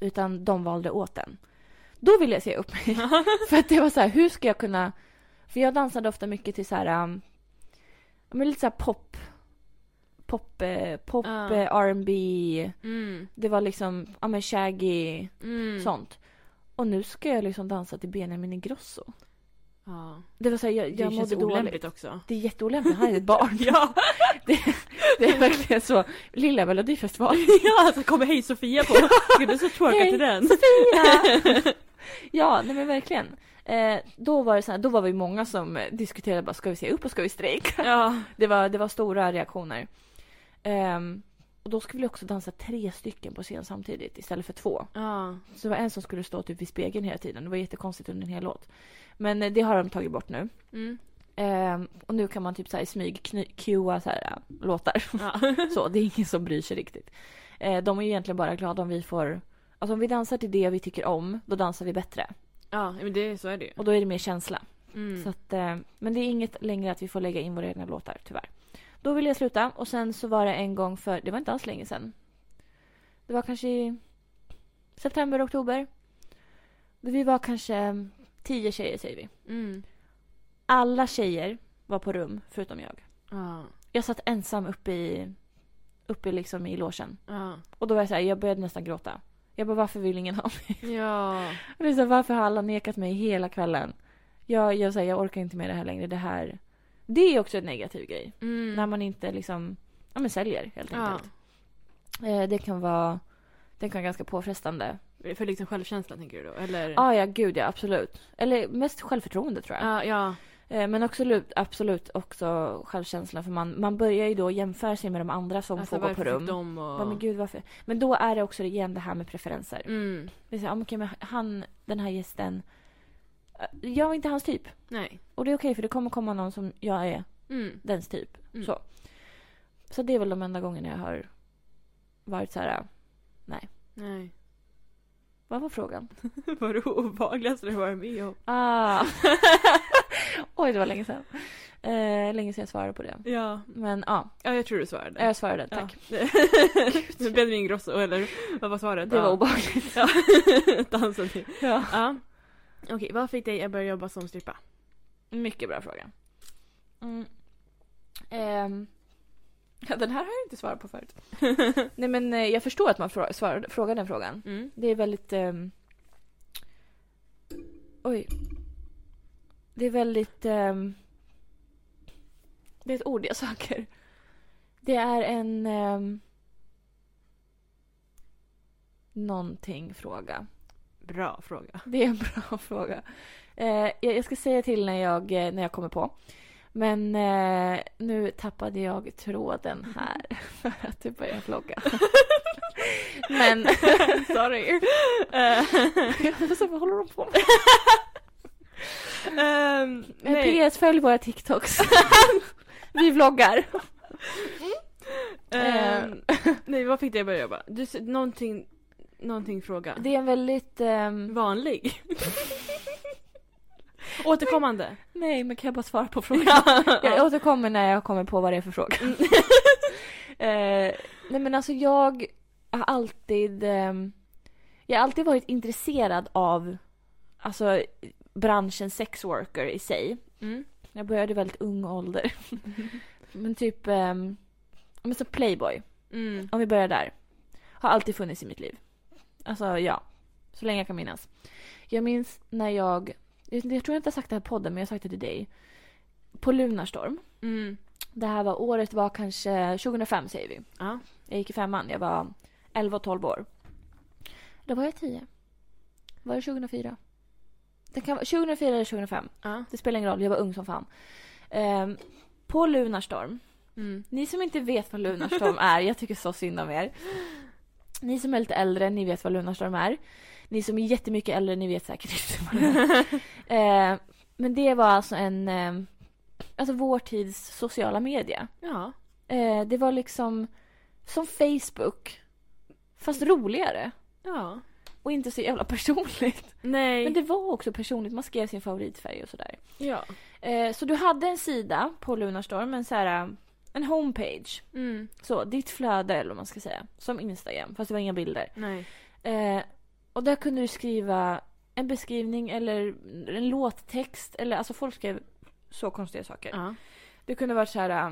Utan de valde åt den. Då ville jag se upp mig. för att det var så här, hur ska jag kunna... För jag dansade ofta mycket till så här... Um, ja, men lite så här pop. Pop, eh, pop, Ja. eh, R&B. Mm. Det var liksom, ja men shaggy, Mm. sånt. Och nu ska jag liksom dansa till Benjamin Ingrosso. Ja. Det var så här, jag, Det jag känns mådde dåligt. olämpligt också. Det är jätteolämpligt, han är ett barn. ja. det, det är verkligen så. Lilla Melodifestival. ja, alltså kommer Hej Sofia på. Gud, du ska twerka Hej. till den. ja, nej men verkligen. Eh, då, var det så här, då var vi många som eh, diskuterade bara ska vi se upp och ska vi strejka? Ja. Det var, det var stora reaktioner. Ehm, och då skulle vi också dansa tre stycken på scen samtidigt istället för två. Ja. Så det var en som skulle stå typ vid spegeln hela tiden. Det var jättekonstigt under en hel låt. Men eh, det har de tagit bort nu. Mm. Ehm, och nu kan man typ så här i smyg kny- cuea så här, äh, låtar. Ja. Så det är ingen som bryr sig riktigt. Eh, de är ju egentligen bara glada om vi får... Alltså om vi dansar till det vi tycker om, då dansar vi bättre. ja, men det, så är det ju. Och då är det mer känsla. Mm. Så att, eh, men det är inget längre att vi får lägga in våra egna låtar, tyvärr. Då ville jag sluta och sen så var det en gång för, det var inte alls länge sedan. Det var kanske i september, oktober. Vi var kanske eh, tio tjejer säger vi. Mm. Alla tjejer var på rum förutom jag. Ja. Jag satt ensam uppe i, uppe liksom i logen. Ja. Och då var jag så här, jag började nästan gråta. Jag bara, varför vill ingen ha mig? Ja. Och det är så här, varför har alla nekat mig hela kvällen? Jag, jag, så här, jag orkar inte med det här längre. Det här... Det är också en negativ grej. Mm. När man inte liksom, ja men säljer helt ja. enkelt. Eh, det kan vara, det kan vara ganska påfrestande. För liksom självkänslan tänker du då? Eller? Ah, ja, gud ja, absolut. Eller mest självförtroende tror jag. Ja, ja. Eh, men också, absolut också självkänslan för man, man börjar ju då jämföra sig med de andra som Alltså, får gå på varför fick rum. De och... Ja, men gud varför? Men då är det också igen det här med preferenser. Mm. Det är så, här, ah, okej, men han, den här gästen. eh, Jag är inte hans typ. Nej. Och det är okej för det kommer komma någon som jag är Mm. dens typ. Mm. Så. så det är väl de enda gångerna jag har varit så här. Nej. Vad var frågan? Vad det obehagligaste du varit med om? Ah. Oj, det var länge sedan. Eh, länge sedan jag svarade på det. Ja. Men ja, Ja, jag tror du svarade. jag svarade. Tack. Ja. Med Benjamin Ingrosso, eller vad var svaret? Det var Ja. obehagligt. Ja. Dansen till. Ja. Ja. Okej, vad fick dig att börja jobba som strippa? Mycket bra fråga. Mm. Ehm. Ja, den här har jag inte svarat på förut. Nej men eh, jag förstår att man frå- svarar, frågar den frågan. Mm. Det är väldigt... ehm, Oj. Det är väldigt... ehm, Det är ett ord jag söker. Det är en... ehm, någonting fråga. Bra fråga. Det är en bra fråga. Eh, jag jag ska säga till när jag, eh, när jag kommer på. Men eh, nu tappade jag tråden här för att du började vlogga. Men sorry. Eh, jag var så, vad håller de på med? Ehm, nej. PS, följ våra TikToks. Vi vloggar. Ehm, nej, vad fick det jag börja jobba? Du, s- någonting, någonting fråga. Det är en väldigt... ehm, Vanlig. Återkommande. Nej, men kan jag bara svara på frågan? Jag återkommer när jag kommer på vad det är för fråga. eh, nej men alltså jag har alltid, ehm, jag har alltid varit intresserad av alltså, branschen sexworker i sig. Mm. Jag började i väldigt ung ålder. men typ, ehm, men så Playboy, Mm. om vi börjar där. Har alltid funnits i mitt liv. Alltså ja, så länge jag kan minnas. Jag minns när jag, jag jag tror jag inte jag har sagt det här i podden men jag har sagt det till dig. På Lunarstorm. Mm. Det här var året var kanske 2005 säger vi. Ja. Jag gick i femman. Jag var 11 och 12 år. Då var jag 10. Var det 2004? Det kan vara 2004 eller 2005. Ja. Det spelar ingen roll. Jag var ung som fan. Ehm, på Lunarstorm. Mm. Ni som inte vet vad Lunarstorm är. Jag tycker så synd om er. Ni som är lite äldre, ni vet vad Lunarstorm är. Ni som är jättemycket äldre, ni vet säkert inte vad det är. Ehm, men det var alltså en... ehm, alltså vår tids sociala media. ja. Eh, det var liksom som Facebook. Fast roligare. Ja. Och inte så jävla personligt. Nej. Men det var också personligt. Man skrev sin favoritfärg och sådär. Ja. Eh, så du hade en sida på Lunarstorm. En, så här, eh, en homepage. Mm. Så, ditt flöde eller vad man ska säga. Som Instagram. Fast det var inga bilder. Nej. Eh, och där kunde du skriva en beskrivning eller en låttext. Eller alltså folk skrev så konstiga saker. Ja. Det kunde varit så här äh,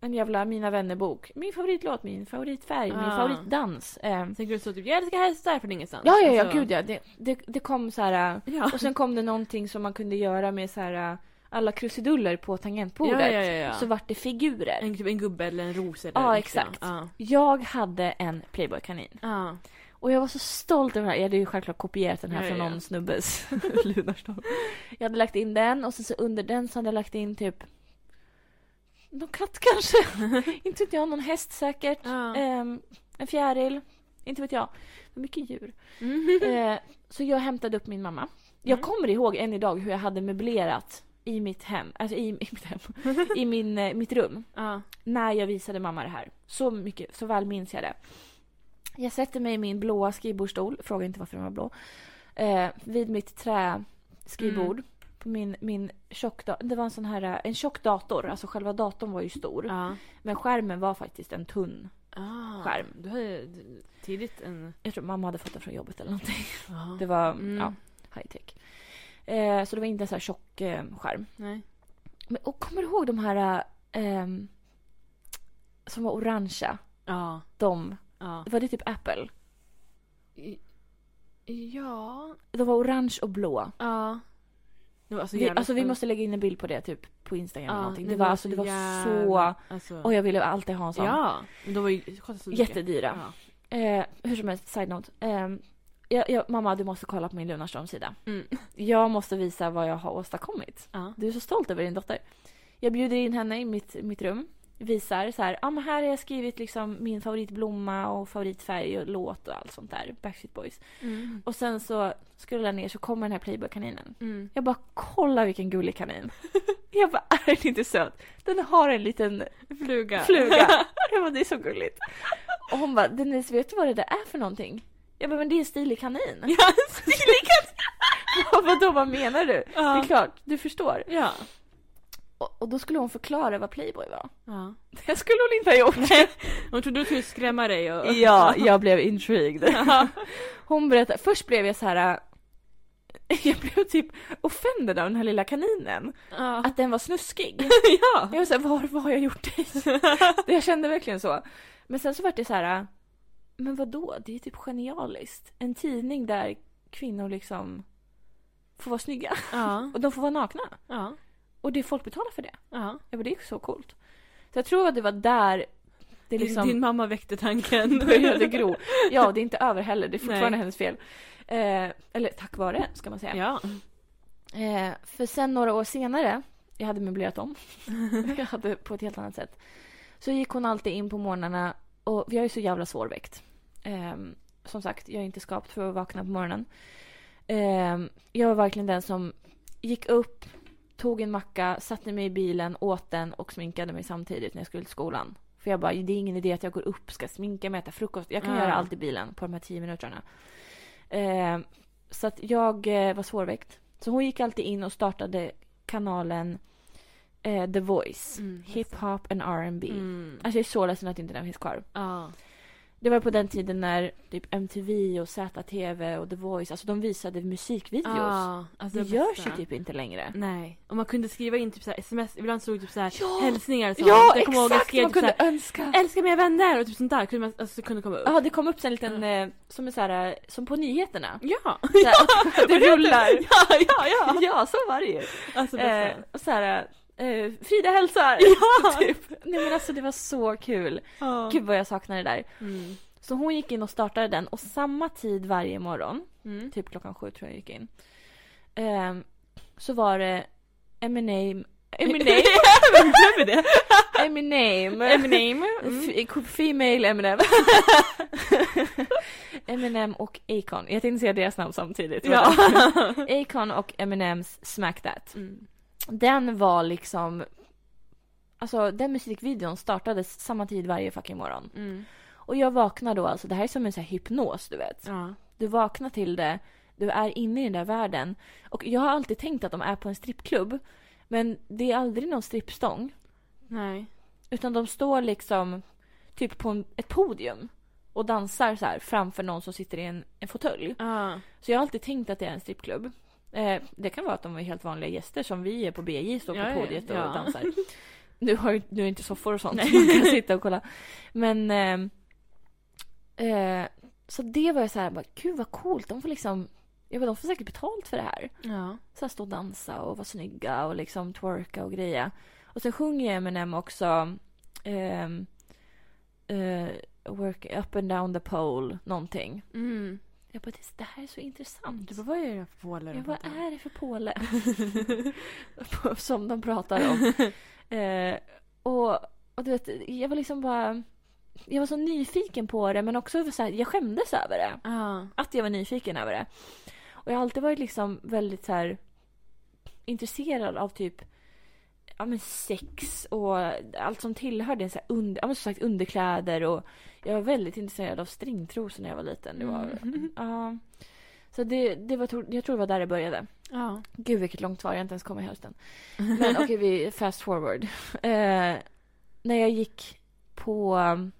en jävla mina vännerbok. Min favoritlåt, min favoritfärg, min Ah. favoritdans. Eh, Sen kunde det stå typ jag älskar hästar från ingenstans. ja, ja, ja, Alltså- gud ja. Det, det, det kom så här. äh, Ja. Och sen kom det någonting som man kunde göra med så här äh, alla krusiduller på tangentbordet. Ja, ja, ja, ja. Så vart det figurer. En, typ en gubbe eller en ros eller Ja, något, exakt. Ja. Jag hade en Playboy-kanin. Ja. Och jag var så stolt över den här. Jag hade ju självklart kopierat den här Ja, ja, från ja. någon snubbes lunarstorm. Jag hade lagt in den och sen så under den så hade jag lagt in typ någon katt kanske. Inte vet jag, någon häst säkert. Ja. Ehm, en fjäril. Inte vet jag. För mycket djur. Mhm. Eh, så jag hämtade upp min mamma. Jag Mm. kommer ihåg än idag hur jag hade möblerat i mitt hem, alltså i, i mitt hem, i min, eh, mitt rum. Ja. När jag visade mamma det här. Så mycket, så väl minns jag det. Jag sätter mig i min blåa skrivbordsstol, fråga inte varför den var blå. Eh, vid mitt träskrivbord. Mm. På min, min tjock, da- det var en sån här, eh, en tjock dator, alltså själva datorn var ju stor. Ja. Men skärmen var faktiskt en tunn Ah. Skärm. Du har ju d- tidigt en... Jag tror mamma hade fått den från jobbet eller någonting. Ja. Det var Mm. ja, high tech. Eh, så det var inte en så här tjock eh, skärm. Nej. Men, och kommer du ihåg de här eh, ehm, som var orangea? Ja. De, Ja. var det typ Apple? I- Ja. De var orange och blå. Ja. Det var alltså Vi, jävla- alltså vi måste lägga in en bild på det typ på Instagram eller någonting. nej, Det var, alltså, det var så... jävla- Alltså, Och jag ville alltid ha en sån. ja. Men de var ju... det kostade så mycket. Jättedyra. Ja. Eh, hur som helst, side note. Ehm, jag, jag, mamma du måste kolla på min Lunarstorm-sida. Mm. Jag måste visa vad jag har åstadkommit. Ja. Du är så stolt över din dotter. Jag bjuder in henne i mitt, mitt rum. Visar så här, ja men här har jag skrivit liksom min favoritblomma och favoritfärg och låt och allt sånt där. Backstreet Boys. Mm. Och sen så scrollar jag ner så kommer den här Playboy-kaninen. Mm. Jag bara kolla vilken gullig kanin. Jag bara är den inte söt? Den har en liten Fluga. fluga. Jag bara det är så gulligt. Och hon bara Denise vet du vad det där är för någonting? Jag bara men det är en stilig kanin. Ja, en stilig katt. Och vadå vad menar du? Det är Ja. klart du förstår. Ja. Och, och då skulle hon förklara vad Playboy var. ja. Det skulle hon inte ha gjort. Hon trodde du skulle skrämma dig och... Ja, jag blev intrigued. Hon berättade, först blev jag så här. äh, Jag blev typ offended av den här lilla kaninen. Ja. Att den var snuskig. ja. Jag var såhär, vad, vad har jag gjort dig? Jag kände verkligen så. Men sen så vart det så här. äh, Men vad då? Det är typ genialiskt. En tidning där kvinnor liksom får vara snygga. Ja. Och de får vara nakna. Ja. Och det folk betalar för det. Ja. Jag bara, det är så coolt. Så jag tror att det var där Det är liksom, din, din mamma väckte tanken. började gro. Ja, det är inte över heller. Det är fortfarande Nej. hennes fel. Eh, eller tack vare, ska man säga. Ja. Eh, för sen några år senare, jag hade möblerat om. jag hade på ett helt annat sätt. Så gick hon alltid in på morgnarna och jag är så jävla svårväckt. Ehm, som sagt, jag är inte skapt för att vakna på morgonen. Ehm, jag var verkligen den som gick upp, tog en macka, satte mig i bilen, åt den och sminkade mig samtidigt när jag skulle till skolan. För jag bara, det är ingen idé att jag går upp, ska sminka mig, äta frukost. Jag kan Mm. göra allt i bilen på de här tio minuterna. Ehm, så att jag eh, var svårväckt. Så hon gick alltid in och startade kanalen eh, The Voice. Mm. Hip-hop and R&B. Mm. Alltså jag är så ledsen att inte den finns kvar. Ja. Det var på den tiden när typ MTV och ZTV och The Voice, alltså de visade musikvideos. Ja. Alltså det det görs bästa. ju typ inte längre. Nej. Och man kunde skriva in typ så här sms, ibland stod det typ så här Ja. hälsningar och sånt. Ja, jag kommer ihåg jag exakt! skrev Man typ så kunde här, önska. älskar mina vänner och typ sånt där. Kunde man, alltså, kunde komma upp. Ja, det kom upp så en liten, eh, som, en så här, eh, som på nyheterna. Ja. Så här, att- att det rullar. Ja, ja, ja. Ja, så var det ju. Alltså Eh, bästa. och så här, eh, Frida hälsar! Ja. Typ. Nej men alltså det var så kul. Ja. Gud vad jag saknar det där. Mm. Så hon gick in och startade den och samma tid varje morgon, Mm. typ klockan sju tror jag gick in. ehm, så var det Eminem, Eminem, Vem är det? Eminem, Eminem. mm. F- Female Eminem. Eminem och Akon. Jag tänkte säga deras namn samtidigt. Ja. Akon och Eminems Smack That. Mm. Den var liksom, alltså den musikvideon startades samma tid varje fucking morgon. Mm. Och jag vaknar då alltså, det här är som en sån här hypnos du vet. Ja. Du vaknar till det, du är inne i den där världen. Och jag har alltid tänkt att de är på en strippklubb. Men det är aldrig någon strippstång. Nej. Utan de står liksom typ på en, ett podium och dansar så här framför någon som sitter i en, en fåtölj. Ja. Så jag har alltid tänkt att det är en strippklubb. Eh, det kan vara att de är helt vanliga gäster som vi är på BJ, står på Ja, ja, podiet och ja. dansar. Nu, har, ju- nu är det inte soffor och sånt som man kan sitta och kolla. Men... Eh, eh, så det var jag så här, bara, gud vad coolt, de får liksom... Jag bara, de får säkert betalt för det här. Ja. Så här stå och dansa och vara snygga och liksom twerka och greja. Och sen sjunger ju Eminem också ehm, eh, work up and down the pole någonting. Mm. Jag bara, det, det här är så intressant. Du bara, vad är det här för pålar? Ja, vad är det för påle? Som de pratar om. Eh, och, och du vet, jag var liksom bara... Jag var så nyfiken på det men också så här, jag skämdes över det. Ja. Att jag var nyfiken över det. Och jag har alltid varit liksom väldigt så här intresserad av typ ja, men sex och allt som tillhör det. Så här under, ja, men som sagt underkläder och jag var väldigt intresserad av stringtrosor när jag var liten. Det var, Mm. ja. Så det, det var, tro- jag tror det var där det började. Ja. Gud vilket långt svar, jag har inte ens kommit i hälften. Men okej, vi fast forward. Eh, när jag gick på um,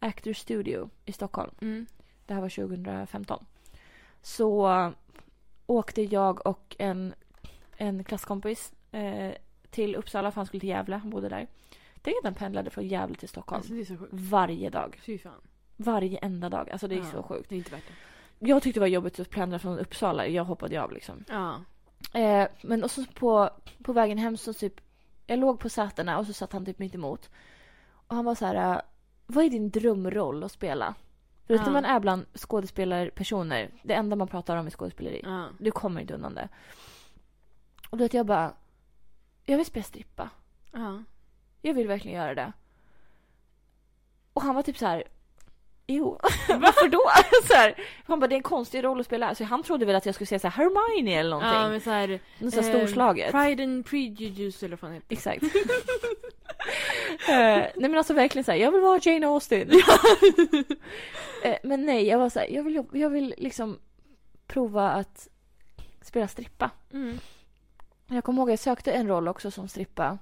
Actors Studio i Stockholm, Mm. det här var 2015, så eh, åkte jag och en, en klasskompis eh, till Uppsala för han skulle till Gävle, han bodde där. Tänk att han pendlade från Gävle till Stockholm. Alltså det är så sjukt. Varje dag. Fy fan. Varje enda dag. Alltså det är Ja. så sjukt. Det är inte värt det. Jag tyckte det var jobbigt att pendla från Uppsala. Jag hoppade ju av liksom. Ja. Eh, men och så på, på vägen hem så typ, jag låg på sätena och så satt han typ mitt emot. Och han var så här, eh, vad är din drömroll att spela? För vet du, Ja. man är bland skådespelarpersoner, det enda man pratar om är skådespeleri. Ja. Du kommer inte undan det. Och då vet jag bara, jag vill spela strippa. Ja. Jag vill verkligen göra det. Och han var typ så här. Jo, varför då? så här, han bara, det är en konstig roll att spela. Så han trodde väl att jag skulle säga så här Hermione eller någonting. Ja men såhär. Något så här eh, storslaget. Pride and prejudice eller vad fan heter Exakt. Eh, nej men alltså verkligen såhär, jag vill vara Jane Austen. Eh, men nej, jag var såhär, jag vill, jobb- jag vill liksom prova att spela strippa. det? Mm. Jag kommer ihåg att jag sökte en roll också som strippa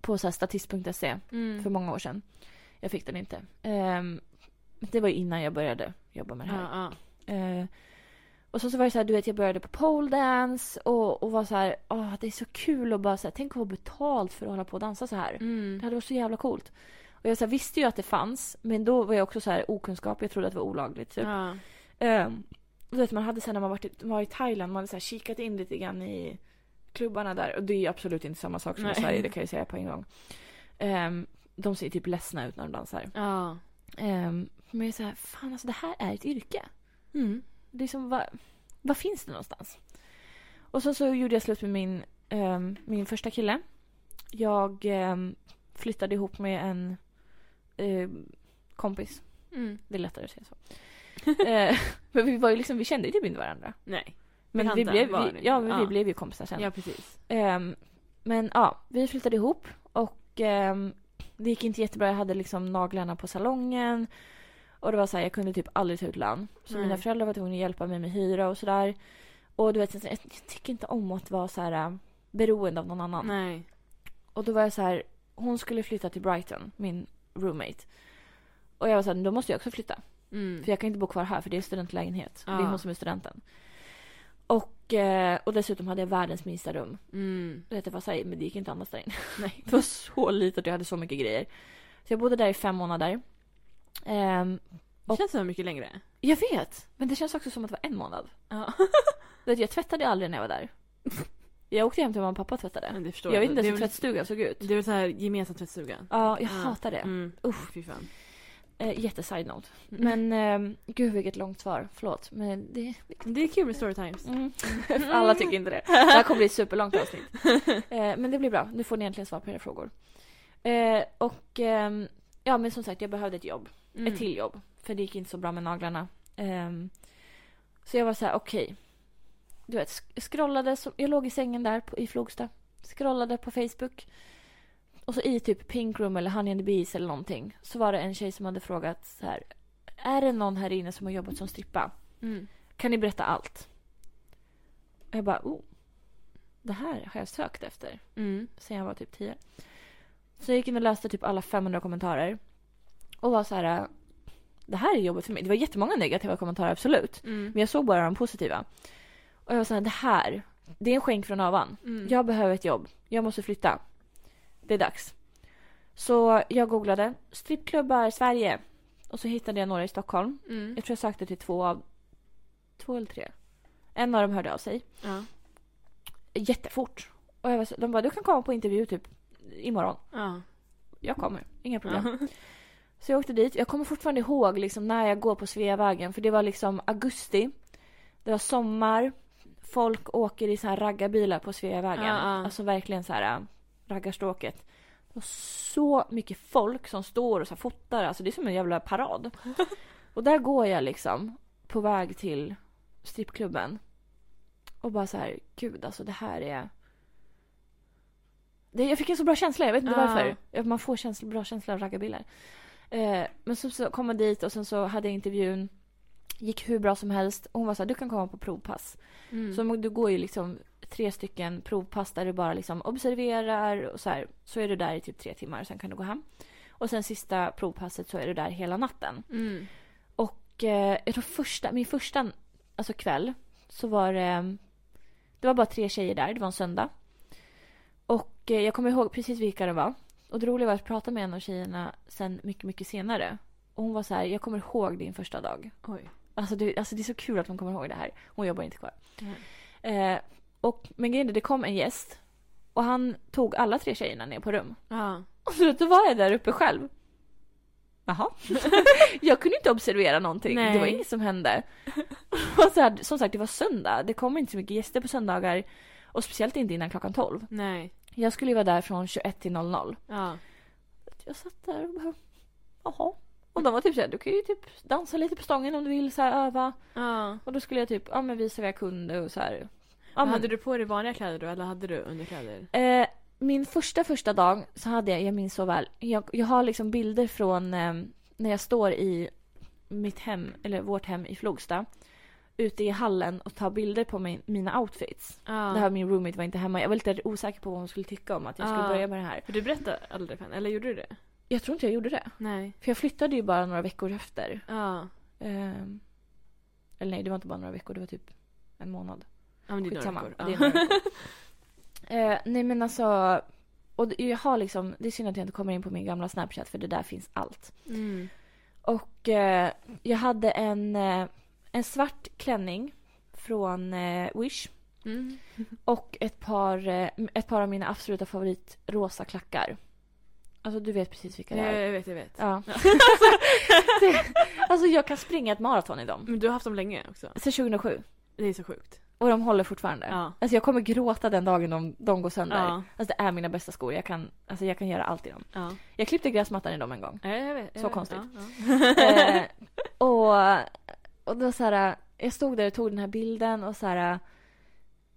på så här statist.se Mm. för många år sedan. Jag fick den inte. Eh, det var ju innan jag började jobba med det här. Ja, ja. Eh, och så, så var det så här, du vet jag började på pole dance och, och var så här, åh det är så kul att bara så här, tänk att få betalt för att hålla på och dansa så här. Mm. Det hade varit så jävla coolt. Och jag så här, visste ju att det fanns, men då var jag också så här okunskap, jag trodde att det var olagligt typ. Ja. Ehm, och du vet man hade sen när man var, i- var i Thailand, man hade så här kikat in lite grann i klubbarna där och det är ju absolut inte samma sak som i Nej. Sverige, det kan jag ju säga på en gång. Ehm, de ser typ ledsna ut när de dansar. Ja. Ehm, men jag är så här, fan alltså det här är ett yrke. Mm. Det är som, Liksom, vad, vad finns det någonstans? Och sen så gjorde jag slut med min, ehm, min första kille. Jag ehm, flyttade ihop med en ehm, kompis. Mm. Det är lättare att säga så. Eh, men vi var ju liksom, vi kände ju typ inte varandra. Nej. Men vi Bekanta blev, var vi, ni. ja, men vi Ja. blev ju kompisar sen. Ja, precis. Ehm, men ja, vi flyttade ihop och ehm, det gick inte jättebra. Jag hade liksom naglarna på salongen. Och det var så här, jag kunde typ aldrig ta ut lön. Så Nej. mina föräldrar var tvungna att hjälpa mig med hyra och sådär. Och du vet, jag, jag tycker inte om att vara så här äh, beroende av någon annan. Nej. Och då var jag så här, hon skulle flytta till Brighton, min roommate. Och jag var så här, då måste jag också flytta. Mm. För jag kan inte bo kvar här för det är studentlägenhet. Det är Ja. hon som är studenten. Och, eh, och dessutom hade jag världens minsta rum. Mm. Du vet, det var så här, men det gick inte annars där inne. Nej. Det var så litet och jag hade så mycket grejer. Så jag bodde där i fem månader. Ehm, Det känns så mycket längre. jag vet, men det känns också som att det var en månad. Ja. Du vet, jag tvättade aldrig när jag var där. Jag åkte hem till mamma och pappa och tvättade. Men det förstår Jag vet inte Det ens är hur väl- tvättstugan såg ut. Det är väl så här gemensam tvättstuga. Ja, jag Ja. hatar det. Mm. Usch. Fy fan. Eh, jätteside note. Men ehm, gud vilket långt svar. Förlåt. Men det... det är kul med Mm. storytimes. Mm. Alla tycker inte det. Det här kommer bli ett superlångt avsnitt. Eh, men det blir bra. Nu får ni äntligen svar på era frågor. Eh, och ehm, ja, men som sagt, jag behövde ett jobb. Mm. Ett till jobb. För det gick inte så bra med naglarna. Ehm, så jag var så här, okej. Du vet, sk- scrollade. Som, jag låg i sängen där på, i Flogsta. Scrollade på Facebook. Och så i typ Pink Room eller Honey and the Bees eller någonting. Så var det en tjej som hade frågat så här. Är det någon här inne som har jobbat som strippa? Mm. Kan ni berätta allt? Och jag bara, oh. Det här har jag sökt efter Mm. sen jag var typ 10. Så jag gick in och läste typ alla 500 kommentarer. Och var så här, äh, det här är jobbet för mig. Det var jättemånga negativa kommentarer, absolut. Mm. Men jag såg bara de positiva. Och jag var så här, det här, det är en skänk från ovan. Mm. Jag behöver ett jobb. Jag måste flytta. Det är dags. Så jag googlade strippklubbar Sverige. Och så hittade jag några i Stockholm. Mm. Jag tror jag sökte till två av... Två eller tre. En av dem hörde av sig. Ja. Jättefort. Och jag var så, de bara, du kan komma på intervju typ imorgon. Ja. Jag kommer, inga problem. Så jag åkte dit. Jag kommer fortfarande ihåg liksom, när jag går på Sveavägen. För det var liksom augusti. Det var sommar. Folk åker i så här raggarbilar på Sveavägen. Ja, ja. Alltså verkligen så här äh, raggarstråket. Det var så mycket folk som står och så här fotar. Alltså det är som en jävla parad. och där går jag liksom på väg till strippklubben. Och bara så här, gud alltså det här är... Det, jag fick en så bra känsla, jag vet inte Ja. varför. Ja, Man får känsla, bra känsla av raggarbilar. Eh, men så, så kom jag dit och sen så hade jag intervjun. Gick hur bra som helst. Och hon var så här, du kan komma på provpass. Mm. Så du går ju liksom tre stycken provpass där du bara liksom observerar och så här. Så är du där i typ tre timmar, sen kan du gå hem. Och sen sista provpasset så är du där hela natten. Mm. Och eh, jag tror första, min första alltså kväll så var det, eh, det var bara tre tjejer där, det var en söndag. Och eh, jag kommer ihåg precis vilka det var. Och det roliga var att prata med en av tjejerna sen mycket, mycket senare. Och hon var så här, jag kommer ihåg din första dag. Oj. Alltså det, alltså det är så kul att hon kommer ihåg det här. Hon jobbar inte kvar. Nej. Eh, och, men grejen är, det kom en gäst. Och han tog alla tre tjejerna ner på rum. Ja. Och så då var jag där uppe själv. Jaha. jag kunde inte observera någonting. Det var Nej. inget som hände. Och så här, som sagt, det var söndag. Det kom inte så mycket gäster på söndagar. Och speciellt inte innan klockan 12. Nej. Jag skulle ju vara där från 21 till 00. Ja. Jag satt där och bara, jaha. Och de var typ såhär, du kan ju typ dansa lite på stången om du vill, så här, öva. Ja. Och då skulle jag typ, ja men visa vad jag kunde och så här. Ja, Men men, Hade du på dig vanliga kläder då eller hade du underkläder? Eh, min första första dag så hade jag, jag minns så väl, jag, jag har liksom bilder från eh, när jag står i mitt hem, eller vårt hem i Flogsta. Ute i hallen och tar bilder på min, mina outfits. Ja. Det här min roommate var inte hemma. Jag var lite osäker på vad hon skulle tycka om att jag skulle Ja. börja med det här. För du berättade aldrig för henne, eller gjorde du det? Jag tror inte jag gjorde det. Nej. För jag flyttade ju bara några veckor efter. Ja. Ehm, eller nej, det var inte bara några veckor, det var typ en månad. Ja men det är Skitsamma. några Det är veckor. några veckor. eh, nej men alltså. Och det- jag har liksom, det är synd att jag inte kommer in på min gamla Snapchat för det där finns allt. Ja. Mm. Och eh, jag hade en, eh, en svart klänning från eh, Wish. Mm. Och ett par, eh, ett par av mina absoluta favorit rosa klackar. Alltså du vet precis vilka det Jag, är. jag vet, jag vet. Ja. Det- alltså jag kan springa ett maraton i dem. Men du har haft dem länge också. Sen 2007. Det är så sjukt. Och de håller fortfarande. Ja. Alltså jag kommer gråta den dagen de, de går sönder. Ja. Alltså det är mina bästa skor. Jag kan, alltså jag kan göra allt i dem. ja. Jag klippte gräsmattan i dem en gång. Ja, jag vet, jag Så vet. konstigt. Ja, eh, och, och det var så här, jag stod där och tog den här bilden och så här.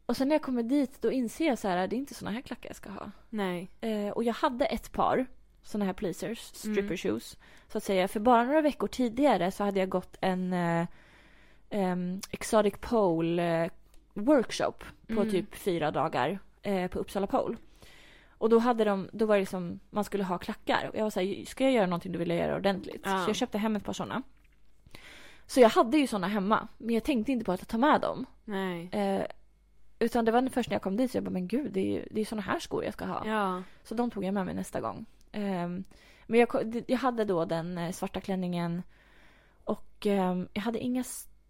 Och sen när jag kommer dit då inser jag så här, det är inte såna här klackar jag ska ha. ja. Nej. Eh, och jag hade ett par såna här pleasers, stripper Mm. shoes. Så att säga. För bara några veckor tidigare så hade jag gått en eh, em, Exotic Pole eh, workshop på Mm. typ fyra dagar eh, på Uppsala Pole. Och då, hade de, då var det liksom, man skulle ha klackar. Och jag var såhär, ska jag göra någonting du vill jag göra ordentligt? Ja. Så jag köpte hem ett par sådana. Så jag hade ju sådana hemma, men jag tänkte inte på att ta med dem. Nej. Eh, utan det var först när jag kom dit så jag bara, men gud det är ju det är sådana här skor jag ska ha. Ja. Så de tog jag med mig nästa gång. Ehm, men jag, ko- d- jag hade då den eh, svarta klänningen och ehm, jag hade inga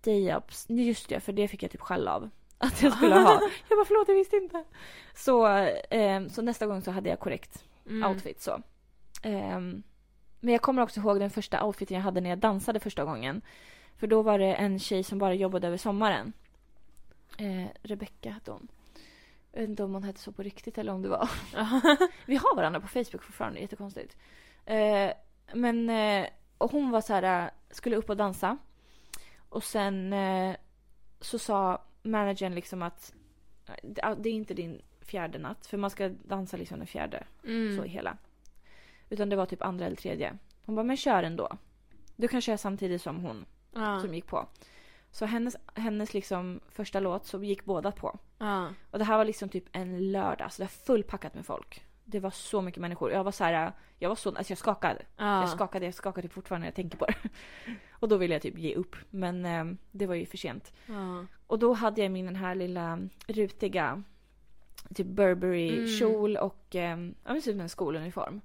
stay-ups. Nej, Just det, för det fick jag typ skäll av att jag skulle ha. Jag bara förlåt, jag visste inte. Så, ehm, så nästa gång så hade jag korrekt Mm. outfit så. Ehm, men jag kommer också ihåg den första outfiten jag hade när jag dansade första gången. För då var det en tjej som bara jobbade över sommaren. Eh, Rebecka hette hon. Jag vet inte om hon hette så på riktigt eller om det var vi har varandra på Facebook fortfarande, jättekonstigt. Eh, men eh, och hon var så här, eh, skulle upp och dansa. Och sen eh, så sa managern liksom att eh, det är inte din fjärde natt, för man ska dansa liksom den fjärde, Mm. så i hela. Utan det var typ andra eller tredje. Hon bara, men kör ändå. Du kan köra samtidigt som hon Ja. som gick på. Så hennes, hennes liksom första låt så gick båda på. Ja. Och det här var liksom typ en lördag, så det var fullpackat med folk. Det var så mycket människor. Jag var så här, jag var så, alltså jag skakade. Jag Ja. skakade, jag skakade typ fortfarande när jag tänker på det. Och då ville jag typ ge upp, men eh, det var ju för sent. Ja. Och då hade jag min den här lilla rutiga typ Burberry-kjol och eh, ja men ser ut som en skoluniform.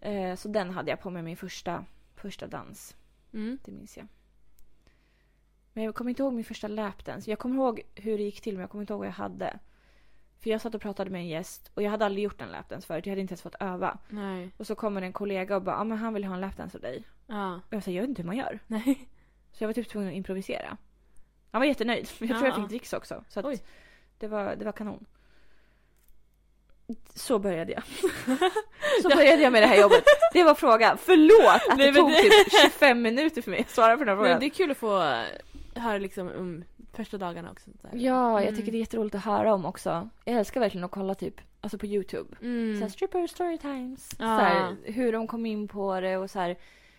Eh, så den hade jag på mig min första, första dans. Mm. Det minns jag. Men jag kommer inte ihåg min första lapdance. Jag kommer ihåg hur det gick till men jag kommer inte ihåg vad jag hade. För jag satt och pratade med en gäst och jag hade aldrig gjort en lapdance förut. Jag hade inte ens fått öva. Nej. Och så kommer en kollega och bara ah, men han vill ha en lapdance av dig. Ja. Och jag sa jag vet inte hur man gör. Nej. Så jag var typ tvungen att improvisera. Han var jättenöjd. Jag tror jag Ja. fick dricks också. Så att Ah. Oj. det, var, det var kanon. Så började jag. Så började jag med det här jobbet. Det var frågan. Förlåt att Nej, det men tog det- typ 25 minuter för mig att svara på den här frågan. Men det är kul att få höra liksom om första dagarna också. Så här. Ja, jag Mm. tycker det är jätteroligt att höra om också. Jag älskar verkligen att kolla typ, alltså på Youtube. Mm. Så här, stripper storytimes. Ja. Så här, hur de kom in på det och så här,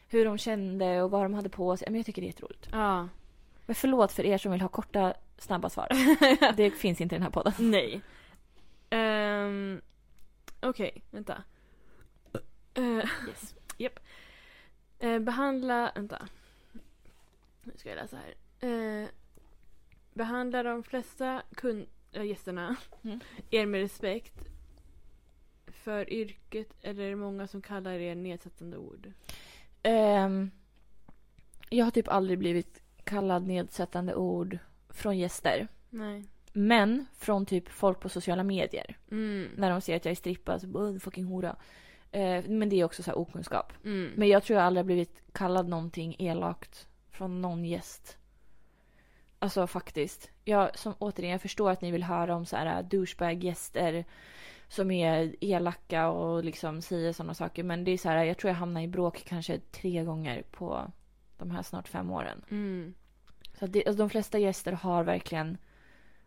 hur de kände och vad de hade på sig. Men jag tycker det är jätteroligt. Ja. Men förlåt för er som vill ha korta, snabba svar. det finns inte i den här podden. Nej. Ehm, Okej, vänta. Eh, Yes. eh, behandla, vänta. Nu ska jag läsa här. Eh, behandla de flesta kun- äh, gästerna Mm. er med respekt för yrket eller är det många som kallar er nedsättande ord? Ehm, jag har typ aldrig blivit kallad nedsättande ord från gäster. Nej. Men från typ folk på sociala medier. Mm. När de ser att jag är strippa så bara "Åh, fucking hora. Eh, men det är också så här okunskap. Mm. Men jag tror jag aldrig har blivit kallad någonting elakt från någon gäst. Alltså faktiskt. Jag, som, återigen, jag förstår att ni vill höra om så här äh, douchebag-gäster som är elaka och liksom säger sådana saker. Men det är så här, jag tror jag hamnar i bråk kanske tre gånger på de här snart fem åren. Mm. Så att det, alltså, de flesta gäster har verkligen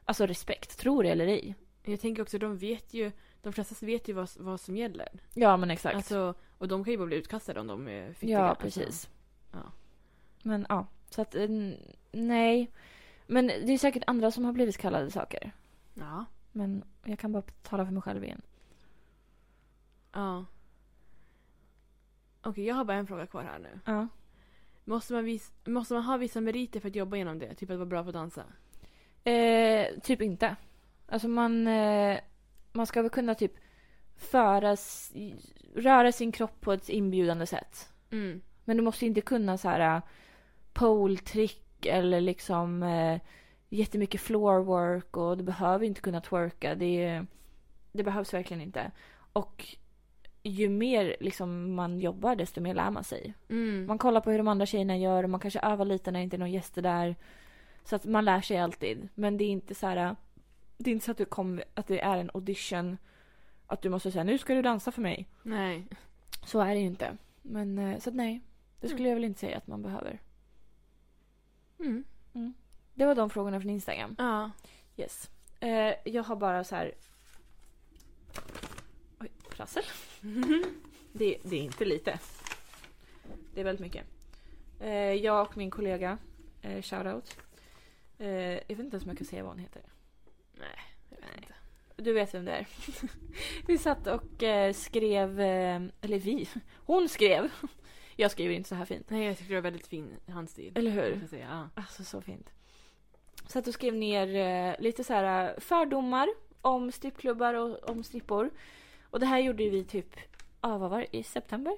alltså respekt, tror det eller ej. Jag tänker också, de vet ju, de flesta vet ju vad, vad som gäller. Ja men exakt. Alltså, och de kan ju bara bli utkastade om de är fittiga. Ja, alltså. precis. ja. Men ja, så att eh, nej. Men det är säkert andra som har blivit kallade saker. Ja. Men jag kan bara tala för mig själv igen. ja. Okej, jag har bara en fråga kvar här nu. Ja. Måste man, vis- måste man ha vissa meriter för att jobba inom det? Typ att vara bra på att dansa? Eh, typ inte. Alltså man, eh, man ska väl kunna typ föras, röra sin kropp på ett inbjudande sätt. Mm. Men du måste inte kunna så här eh, pole-trick eller liksom eh, jättemycket floorwork och du behöver inte kunna twerka. Det, är- det behövs verkligen inte. Och ju mer liksom man jobbar desto mer lär man sig. Mm. Man kollar på hur de andra tjejerna gör och man kanske övar lite när det inte är några gäster där. Så att man lär sig alltid. Men det är inte så här. äh, Det är inte så att, du kom, att det är en audition. Att du måste säga nu ska du dansa för mig. Nej. Så är det ju inte. Men eh, så att nej. Det skulle jag väl inte säga att man behöver. Mm. Det var de frågorna från Instagram. Ja. Yes. Eh, jag har bara så här. Oj, prassel. Det, det är inte lite. Det är väldigt mycket. Eh, jag och min kollega, eh, shoutout. Eh, jag vet inte ens om jag kan säga vad hon heter. Jag vet Nej. inte. Du vet vem det är. vi satt och eh, skrev, eh, eller vi, hon skrev. Jag skriver inte så här fint. Nej, jag tycker det var väldigt fin handstil. Eller Jag hur? ska säga, ja. Alltså så fint. Så att du skrev ner eh, lite så här eh, fördomar om strippklubbar och om strippor. Och det här gjorde ju vi typ, ah, vad var det, i september?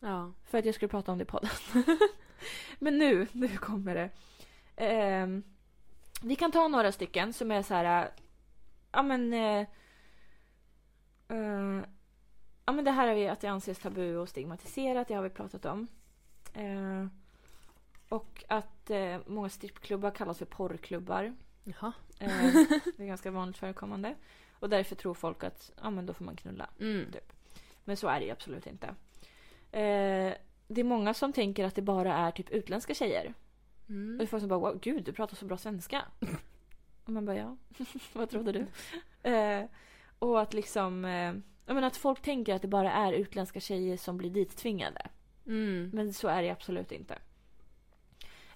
ja. För att jag skulle prata om det i podden. Men nu, nu kommer det. Ehm, vi kan ta några stycken som är så här... äh, Ja men... eh, eh, ja men det här är vi att det anses tabu och stigmatiserat, det har vi pratat om. Eh, och att eh, många strippklubbar kallas för porrklubbar. Jaha. Eh, det är ganska vanligt förekommande. Och därför tror folk att ja, men då får man knulla. Mm. Men så är det ju absolut inte. Eh, det är många som tänker att det bara är typ utländska tjejer. Och det är Mm. folk som bara wow, gud du pratar så bra svenska. Och man bara ja, vad trodde du? Eh, och att liksom, eh, jag menar att folk tänker att det bara är utländska tjejer som blir dittvingade. Mm. Men så är det absolut inte.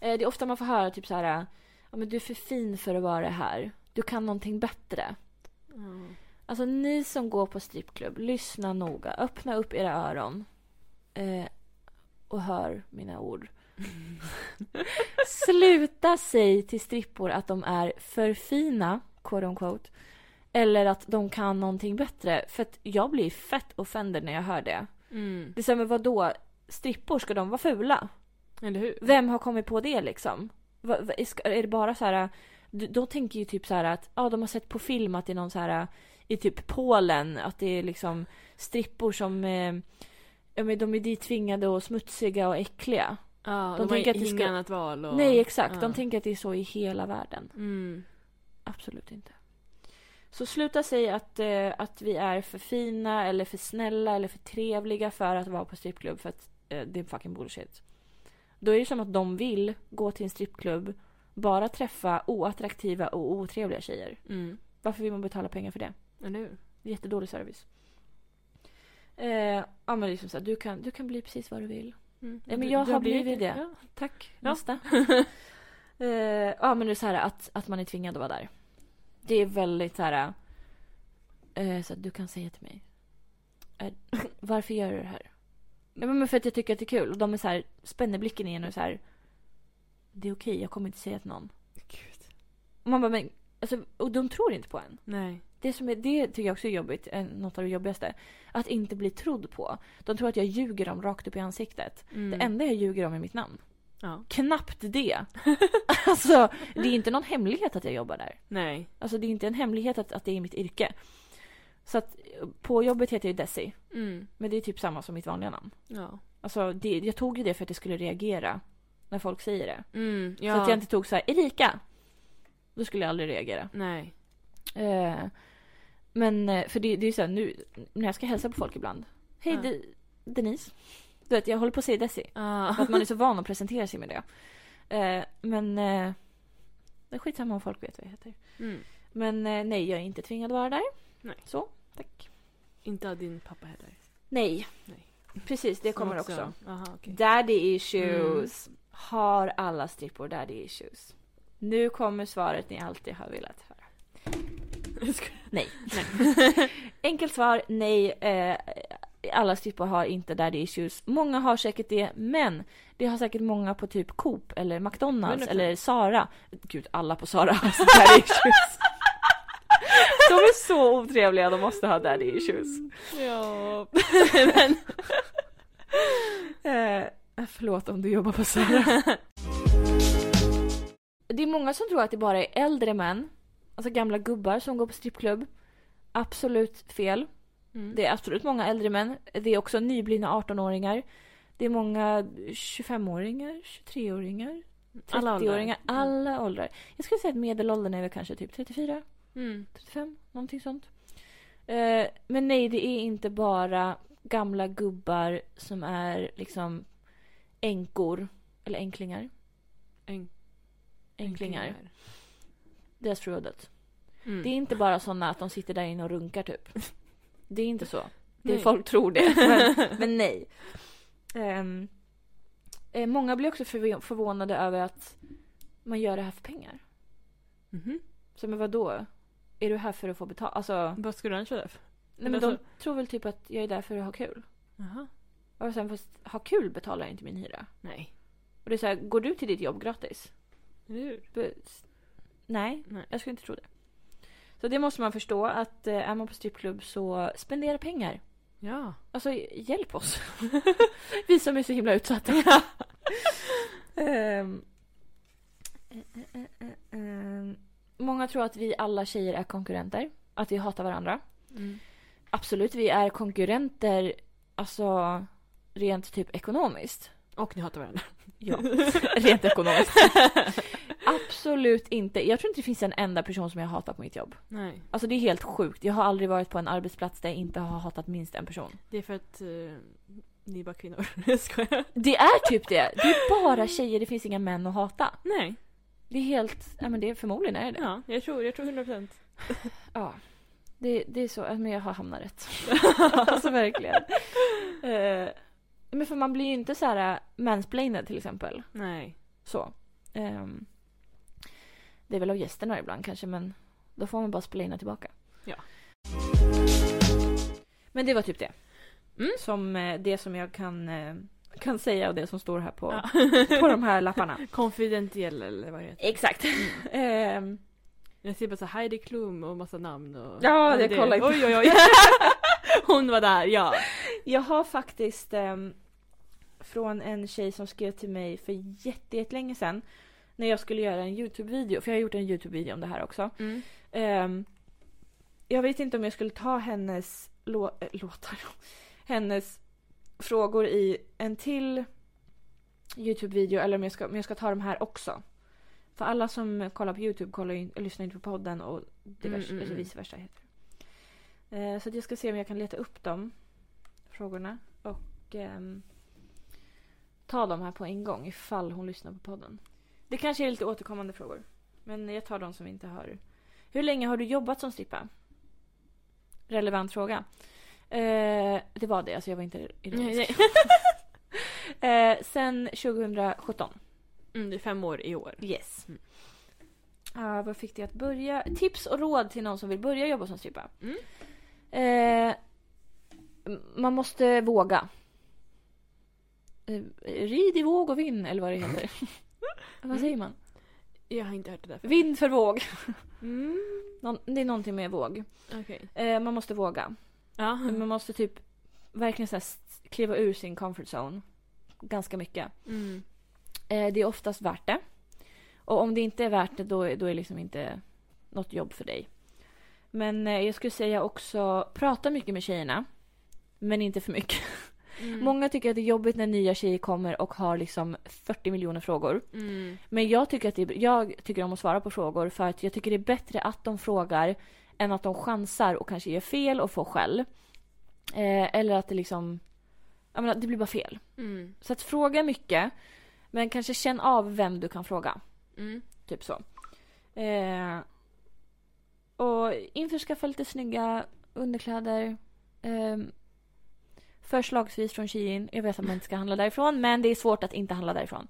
Eh, det är ofta man får höra typ så här, ja men du är för fin för att vara här. Du kan någonting bättre. Ja. Alltså ni som går på strippklubb, lyssna noga. Öppna upp era öron. Eh, och hör mina ord. Sluta säg till strippor att de är för fina, quote unquote. Eller att de kan någonting bättre. För att jag blir fett offended när jag hör det. Mm. Det är så här, men vadå? Strippor, ska de vara fula? Eller hur? Vem har kommit på det liksom? Va, va, är ska- är det bara så här... d- Då tänker ju typ så här att ja, de har sett på film att det är någon så här i typ Polen att det är liksom strippor som eh, ja, men de är ditvingade och smutsiga och äckliga. Ja, De de, tänker har att det inget ska- annat val. Och... Nej exakt, ja. de tänker att det är så i hela världen. Mm. Absolut inte. Så sluta säga att, eh, att vi är för fina eller för snälla eller för trevliga för att vara på strippklubb för att eh, det är fucking bullshit. Då är det som att de vill gå till en strippklubb bara träffa oattraktiva och otrevliga tjejer. Mm. Varför vill man betala pengar för det? Eller hur? Jättedålig service. Eh, ja men liksom så här, du kan, du kan bli precis vad du vill. Mm. Ja, men jag har blivit det. Ja. Tack. Ja. Nästa. Eh, ja men det är så här att, att man är tvingad att vara där. Det är väldigt så här. eh, så att du kan säga till mig. eh, varför gör du det här? Nej men för att jag tycker att det är kul. Och de är så här, spänner blicken igen och så här. Det är okej, jag kommer inte säga till någon. Gud. Och man bara men, alltså, och de tror inte på en. Nej. Det, som är, det tycker jag också är jobbigt, eh, något av det jobbigaste. Att inte bli trodd på. De tror att jag ljuger dem rakt upp i ansiktet. Mm. Det enda jag ljuger om är mitt namn. Ja. Knappt det. alltså, det är inte någon hemlighet att jag jobbar där. Nej. Alltså det är inte en hemlighet att, att det är mitt yrke. Så att eh, på jobbet heter jag ju Desi. Mm. Men det är typ samma som mitt vanliga namn. Ja. Alltså det, jag tog ju det för att jag skulle reagera när folk säger det. Mm. Ja. Så att jag inte tog så här Erika. Då skulle jag aldrig reagera. Nej. Eh, men eh, för det, det är ju så här, nu när jag ska hälsa på folk ibland. Hej Ja. De- Denise. Du vet jag håller på att säga Desi. Ja. För att man är så van att presentera sig med det. Eh, men eh, det är skitsamma om folk vet vad jag heter. Mm. Men eh, nej jag är inte tvingad att vara där. Nej. Så, tack. Inte av din pappa heller. Nej. Nej. Precis det kommer Som också. Aha, okej. Mm. Daddy issues. Har alla strippor daddy issues? Nu kommer svaret ni alltid har velat höra. Jag skojar. Nej. Enkelt svar, nej. Eh, alla strippor har inte daddy issues. Många har säkert det, men det har säkert många på typ Coop eller McDonalds 100%. eller Sara. Gud, alla på Sara har så daddy issues. De är så otrevliga, de måste ha daddy issues. Mm. Ja. Eh, förlåt om du jobbar på Sara. det är många som tror att det bara är äldre män, alltså gamla gubbar som går på strippklubb. Absolut fel. Mm. Det är absolut många äldre män. Det är också nyblivna 18-åringar. Det är många 25-åringar, 23-åringar, Alla åldrar. Mm. 30-åringar. Alla åldrar. Jag skulle säga att medelåldern är väl kanske typ 34, Mm. 35, någonting sånt. Eh, men nej, det är inte bara gamla gubbar som är liksom änkor. Eller änklingar. Äng- Änklingar. Deras fru har dött. Mm. Det är inte bara sådana att de sitter där inne och runkar typ. Det är inte så. Det Nej. folk tror det. Men, men nej. Ehm, eh, många blir också förv- förvånade över att man gör det här för pengar. Mhm. Så men vadå? Är du här för att få betalt? Alltså, Vad skulle du annars vara där för? nej, men men de alltså- tror väl typ att jag är där för att ha kul. Jaha. Och sen fast ha kul betalar jag inte min hyra. Nej. Och det är så här, går du till ditt jobb gratis? Eller hur? B- s- nej, Nej. jag skulle inte tro det. Så det måste man förstå att eh, är man på strippklubb så spendera pengar. Ja. Alltså hjälp oss. Vi som är så himla utsatta. Ehm, eh, eh, eh, ehm. Många tror att vi alla tjejer är konkurrenter. Att vi hatar varandra. Mm. Absolut, vi är konkurrenter. Alltså rent typ ekonomiskt. Och ni hatar varandra. Ja, rent ekonomiskt. Absolut inte. Jag tror inte det finns en enda person som jag hatar på mitt jobb. Nej. Alltså det är helt sjukt. Jag har aldrig varit på en arbetsplats där jag inte har hatat minst en person. Det är för att eh, ni är bara kvinnor. Jag skojar. Det är typ det. Det är bara tjejer, det finns inga män att hata. Nej. Det är helt, ja men det är förmodligen är det det. Ja, jag tror, jag tror 100 procent. Ja. Det, det är så, ja, men jag har hamnat rätt. alltså verkligen. Eh, men för man blir ju inte så här eh, mansplainad till exempel. Nej. Så. Ehm, det är väl av gästerna ibland kanske men då får man bara splaina tillbaka. Ja. Men det var typ det. Mm. Som eh, det som jag kan, eh, kan säga och det som står här på, Ja. på de här lapparna. Konfidentiell eller vad det heter. Exakt. Ehm, Jag ser bara så här Heidi Klum och massa namn och... Ja, Men jag kollar inte. Oj, oj, oj. Hon var där, ja. jag har faktiskt ehm, från en tjej som skrev till mig för jätte- jättelänge sedan när jag skulle göra en Youtube-video, för jag har gjort en Youtube-video om det här också. Mm, Ehm, jag vet inte om jag skulle ta hennes lå- äh, låtar. hennes frågor i en till Youtube-video eller om jag, ska, om jag ska ta de här också. För alla som kollar på Youtube kollar ju, in- lyssnar inte på podden och Mm, divers, mm, alltså mm. vice versa. Heter det. Eh, så att jag ska se om jag kan leta upp de frågorna och ehm, ta de här på en gång ifall hon lyssnar på podden. Det kanske är lite återkommande frågor. Men jag tar de som inte har hur länge har du jobbat som strippa? Relevant fråga. Eh, det var det, alltså jag var inte ironisk. Nej, Eh, sen 2017. Mm, det är fem år i år. Yes. Mm. Ja, vad fick det att börja? Tips och råd till någon som vill börja jobba som strippa. Mm. Eh, man måste våga. Eh, rid i våg och vinn, eller vad det heter. vad säger man? Jag har inte hört det där förut. Vind för våg. Mm. Någon, det är någonting med våg. Okej. Mm. Eh, man måste våga. Ja. Man måste typ verkligen så här s- kliva ur sin comfort zone. Ganska mycket. Mm. Eh, det är oftast värt det. Och om det inte är värt det då, är- då är det liksom inte något jobb för dig. Men eh, jag skulle säga också prata mycket med tjejerna. Men inte för mycket. Mm. Många tycker att det är jobbigt när nya tjejer kommer och har liksom 40 miljoner frågor. Mm. Men jag tycker, att det är, jag tycker om att svara på frågor för att jag tycker det är bättre att de frågar än att de chansar och kanske gör fel och får skäll. Eh, eller att det liksom... Jag menar, det blir bara fel. Mm. Så att fråga mycket, men kanske känn av vem du kan fråga. Mm. Typ så. Eh, och införskaffa lite snygga underkläder. Eh, förslagsvis från Shein. Jag vet att man inte ska handla därifrån men det är svårt att inte handla därifrån.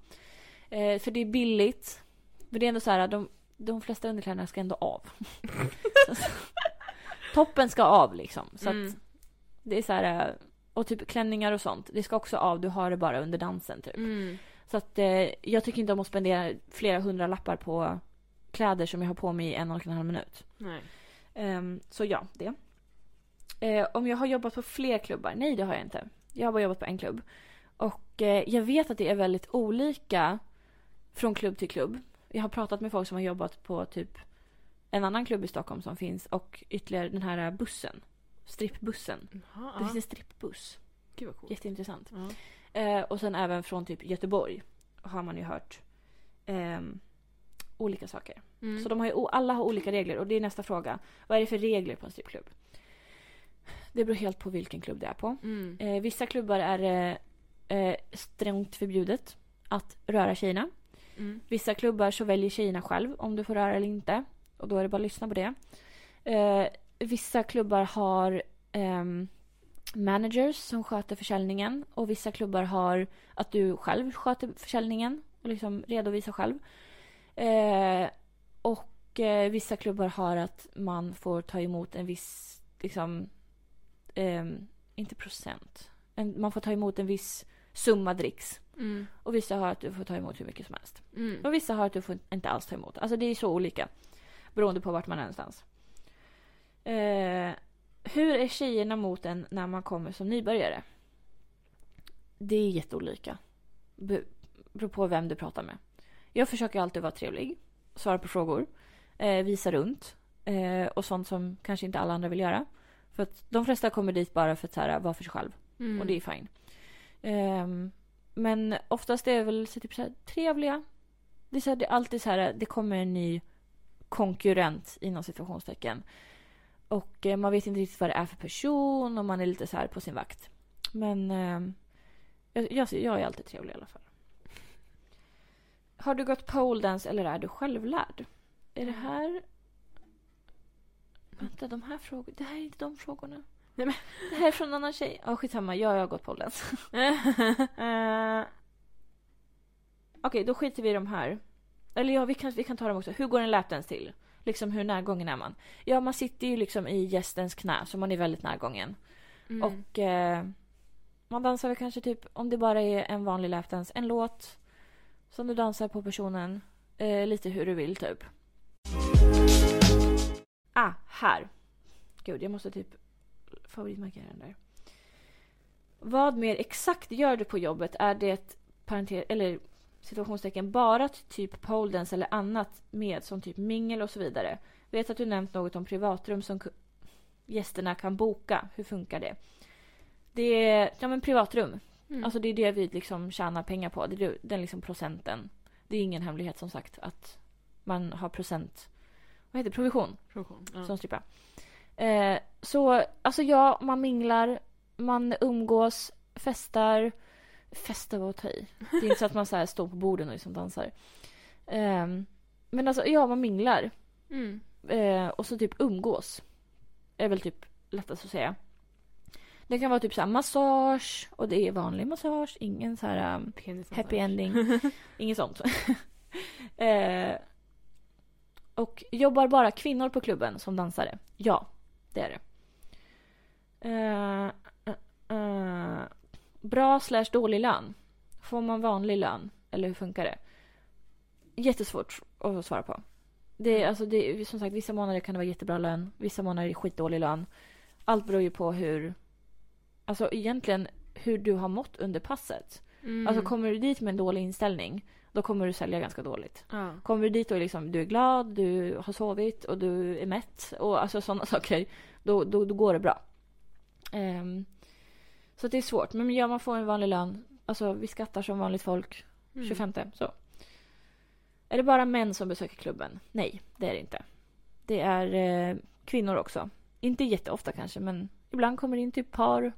Eh, för det är billigt. Men det är ändå så här att de, de flesta underkläderna ska ändå av. Toppen ska av liksom. Så att Mm. det är så här, eh, och typ klänningar och sånt. Det ska också av. Du har det bara under dansen typ. Mm. Så att eh, jag tycker inte om att spendera flera hundra lappar på kläder som jag har på mig i en och en halv minut. Nej. Ehm, så ja, det. Eh, om jag har jobbat på fler klubbar? Nej, det har jag inte. Jag har bara jobbat på en klubb. Och eh, jag vet att det är väldigt olika från klubb till klubb. Jag har pratat med folk som har jobbat på typ en annan klubb i Stockholm som finns och ytterligare den här bussen Strippbussen. Jaha, Det finns ja. en strippbuss. Gud vad coolt. Jätteintressant. Ja. Eh, och sen även från typ Göteborg har man ju hört ehm, olika saker. Mm. Så de har ju, o- alla har olika regler och det är nästa fråga. Vad är det för regler på en strippklubb? Det beror helt på vilken klubb det är på. Mm. Eh, vissa klubbar är eh, eh, strängt förbjudet att röra tjejerna. Mm. Vissa klubbar så väljer tjejerna själv om du får röra eller inte. Och då är det bara att lyssna på det. Eh, vissa klubbar har ehm, managers som sköter försäljningen. Och vissa klubbar har att du själv sköter försäljningen och liksom redovisar själv. Eh, och eh, vissa klubbar har att man får ta emot en viss, liksom, ehm, inte procent. En, man får ta emot en viss summa dricks. Mm. Och vissa har att du får ta emot hur mycket som helst. Mm. Och vissa har att du får inte alls ta emot. Alltså det är så olika. Beroende på vart man är någonstans. Eh, hur är tjejerna mot en när man kommer som nybörjare? Det är jätteolika. Be- beror på vem du pratar med. Jag försöker alltid vara trevlig. Svara på frågor. Eh, visa runt. Eh, och sånt som kanske inte alla andra vill göra. För att de flesta kommer dit bara för att så här, vara för sig själv. Mm. Och det är fine. Ehm, men oftast är det väl så typ så här, trevliga. Det är, så här, det är alltid så här, det kommer en ny konkurrent inom situationstecken. Och eh, man vet inte riktigt vad det är för person och man är lite så här på sin vakt. Men ehm, jag, jag, jag är alltid trevlig i alla fall. Har du gått poledance eller är du självlärd? Är Mm. det här... Vänta, de här frågorna. Det här är inte de frågorna. Nej, men- Det här är från en annan tjej. Ja, skitsamma. Ja, jag har gått poledance. Eh, Okej, då skiter vi i de här. Eller ja, vi kan, vi kan ta dem också. Hur går en lapdance till? Liksom hur närgången är man? Ja, man sitter ju liksom i gästens knä, så man är väldigt närgången. Mm. Och eh, man dansar väl kanske typ, om det bara är en vanlig lapdance, en låt som du dansar på personen. Eh, lite hur du vill typ. Ah, här. Gud, jag måste typ favoritmarkera den där. Vad mer exakt gör du på jobbet? Är det parenter- eller situationstecken bara t- typ poledance eller annat med som typ mingel och så vidare? Vet att du nämnt något om privatrum som ku- gästerna kan boka. Hur funkar det? Det är ja, men privatrum. Mm. Alltså det är det vi liksom tjänar pengar på. Det är ju den liksom procenten. Det är ingen hemlighet som sagt att man har procent... Vad heter det? Provision Produktion. Ja. som strippa. Eh, så alltså ja, man minglar, man umgås, festar. Festar var att ta i. Det är inte så att man så här står på borden och liksom dansar. Ehm, men alltså ja, man minglar. Mm. Eh, och så typ umgås. Är väl typ lättast att säga. Det kan vara typ så här massage och det är vanlig massage. Ingen så här ehm, Penis Happy ending. Inget sånt. eh, och jobbar bara kvinnor på klubben som dansare? Ja, det är det. Eh, eh, eh, bra slash dålig lön? Får man vanlig lön? Eller hur funkar det? Jättesvårt att svara på. Det är, alltså, det är, som sagt, vissa månader kan det vara jättebra lön. Vissa månader är skitdålig lön. Allt beror ju på hur... Alltså egentligen hur du har mått under passet. Mm. Alltså kommer du dit med en dålig inställning, då kommer du sälja ganska dåligt. ja. Kommer du dit och liksom, du är glad, du har sovit och du är mätt och alltså sådana saker, då, då, då går det bra. Ehm, så att det är svårt. Men ja, man får en vanlig lön. Alltså vi skattar som vanligt folk. Mm. 25 så. Är det bara män som besöker klubben? Nej, det är det inte. Det är eh, kvinnor också. Inte jätteofta kanske, men ibland kommer det in typ par.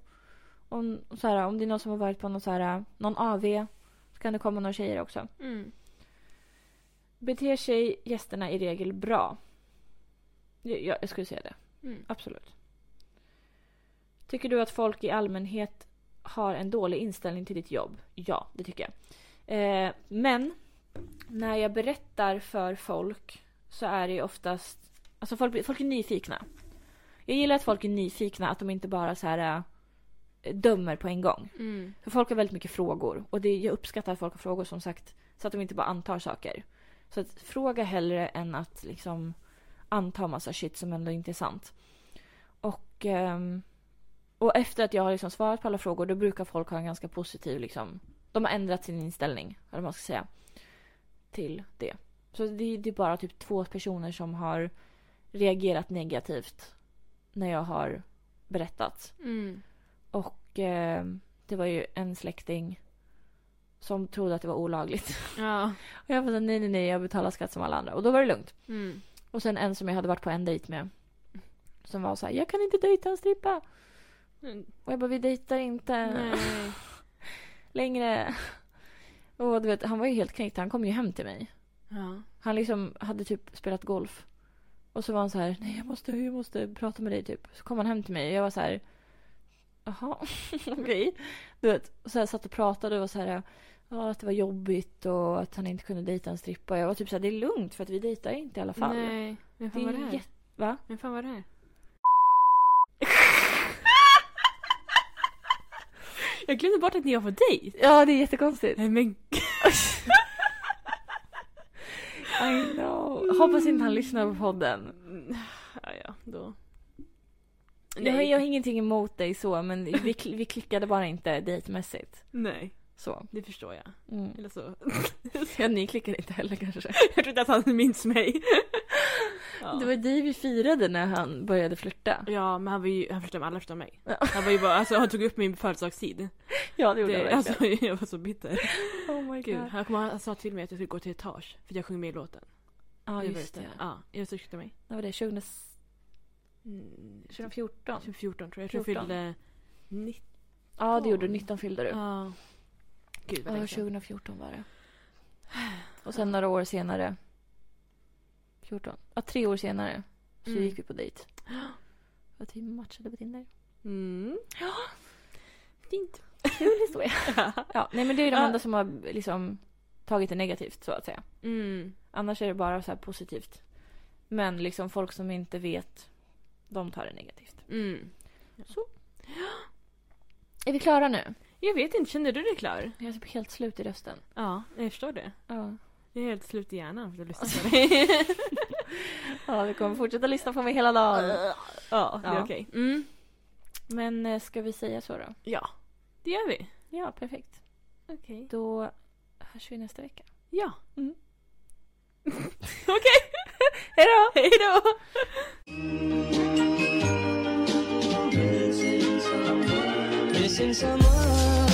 Om, så här, om det är någon som har varit på någon, så här, någon AV så kan det komma några tjejer också. Mm. Beter sig gästerna i regel bra? Jag, jag skulle säga det. Mm. Absolut. Tycker du att folk i allmänhet har en dålig inställning till ditt jobb? Ja, det tycker jag. Eh, men när jag berättar för folk så är det ju oftast... Alltså folk, folk är nyfikna. Jag gillar att folk är nyfikna, att de inte bara så här eh, dömer på en gång. Mm. För folk har väldigt mycket frågor. Och det, jag uppskattar att folk har frågor som sagt. Så att de inte bara antar saker. Så att fråga hellre än att liksom anta massa shit som ändå inte är sant. Och, ehm, och efter att jag har liksom svarat på alla frågor då brukar folk ha en ganska positiv liksom. De har ändrat sin inställning, eller vad man ska säga. Till det. Så det, det är bara typ två personer som har reagerat negativt när jag har berättats. Mm. Och eh, det var ju en släkting som trodde att det var olagligt. Ja. Och jag var så, nej nej nej jag betalar skatt som alla andra. Och då var det lugnt. Mm. Och sen en som jag hade varit på en dejt med. Som var så här, jag kan inte dejta en strippa. Och jag bara, vi dejtar inte Nej. längre. Och du vet, han var ju helt knäckt. Han kom ju hem till mig. Ja. Han liksom hade typ spelat golf. Och så var han så här, nej jag måste, jag måste prata med dig typ. Så kom han hem till mig och jag var så här, jaha, okej. Du vet, och så här satt och pratade och var så här, ja att det var jobbigt och att han inte kunde dejta en strippa. Jag var typ så här, det är lugnt för att vi dejtar inte i alla fall. Nej. Men det fan var det är här? jätte... Va? Men fan var det här? Jag glömde bort att ni var på dejt. Ja, det är jättekonstigt. Nej men I know. Hoppas inte han lyssnar på podden. Mm, Ja, ja, då. Jag, har- jag har ingenting emot dig så, men vi, kl- vi klickade bara inte dejtmässigt. nej, Så. det förstår jag. Mm. Eller så. Ja, ni klickade inte heller kanske. jag tror inte att han minns mig. ja. Det var dig vi firade när han började flirta. ja, men han var ju, han förstod alla förutom mig. Ja. Han var ju bara, alltså han tog upp min födelsedagstid. Ja, det Det, alltså, jag var så bitter. Oh my Gud, han, kom, han sa till mig att jag skulle gå till etage för att jag sjöng med i låten. Ja, Jag var just ute. det. Ja, jag sökte mig. När var det? 2000 Mm, 2014? 2014 tror jag. Jag tror 14. jag fyllde 19. Ja, det gjorde du. 19 fyllde du. Ja, Ja. typ. Gud vad länge sedan. 2014 var det. Och sen några år senare. 14? Ja, tre år senare. Så Mm. gick vi på dejt. Att vi matchade på Tinder. Mm. Ja. Fint. Kul historia. ja, nej men det är ju de Ja. enda som har liksom tagit det negativt så att säga. Mm. Annars är det bara så här positivt. Men liksom folk som inte vet, de tar det negativt. Mm. Är vi klara nu? Jag vet inte, känner du dig klar? Jag är typ helt slut i rösten. Ja, jag förstår det. Ja. Jag är helt slut i hjärnan för att lyssna på dig. ja, du kommer fortsätta lyssna på mig hela dagen. ja, det Ja. är okej. Mm. Men eh, ska vi säga så då? Ja, det gör vi. Ja, perfekt. Okej. Då hörs vi nästa vecka. Ja. Mm. okej. Hejdå! Hejdå! Missing someone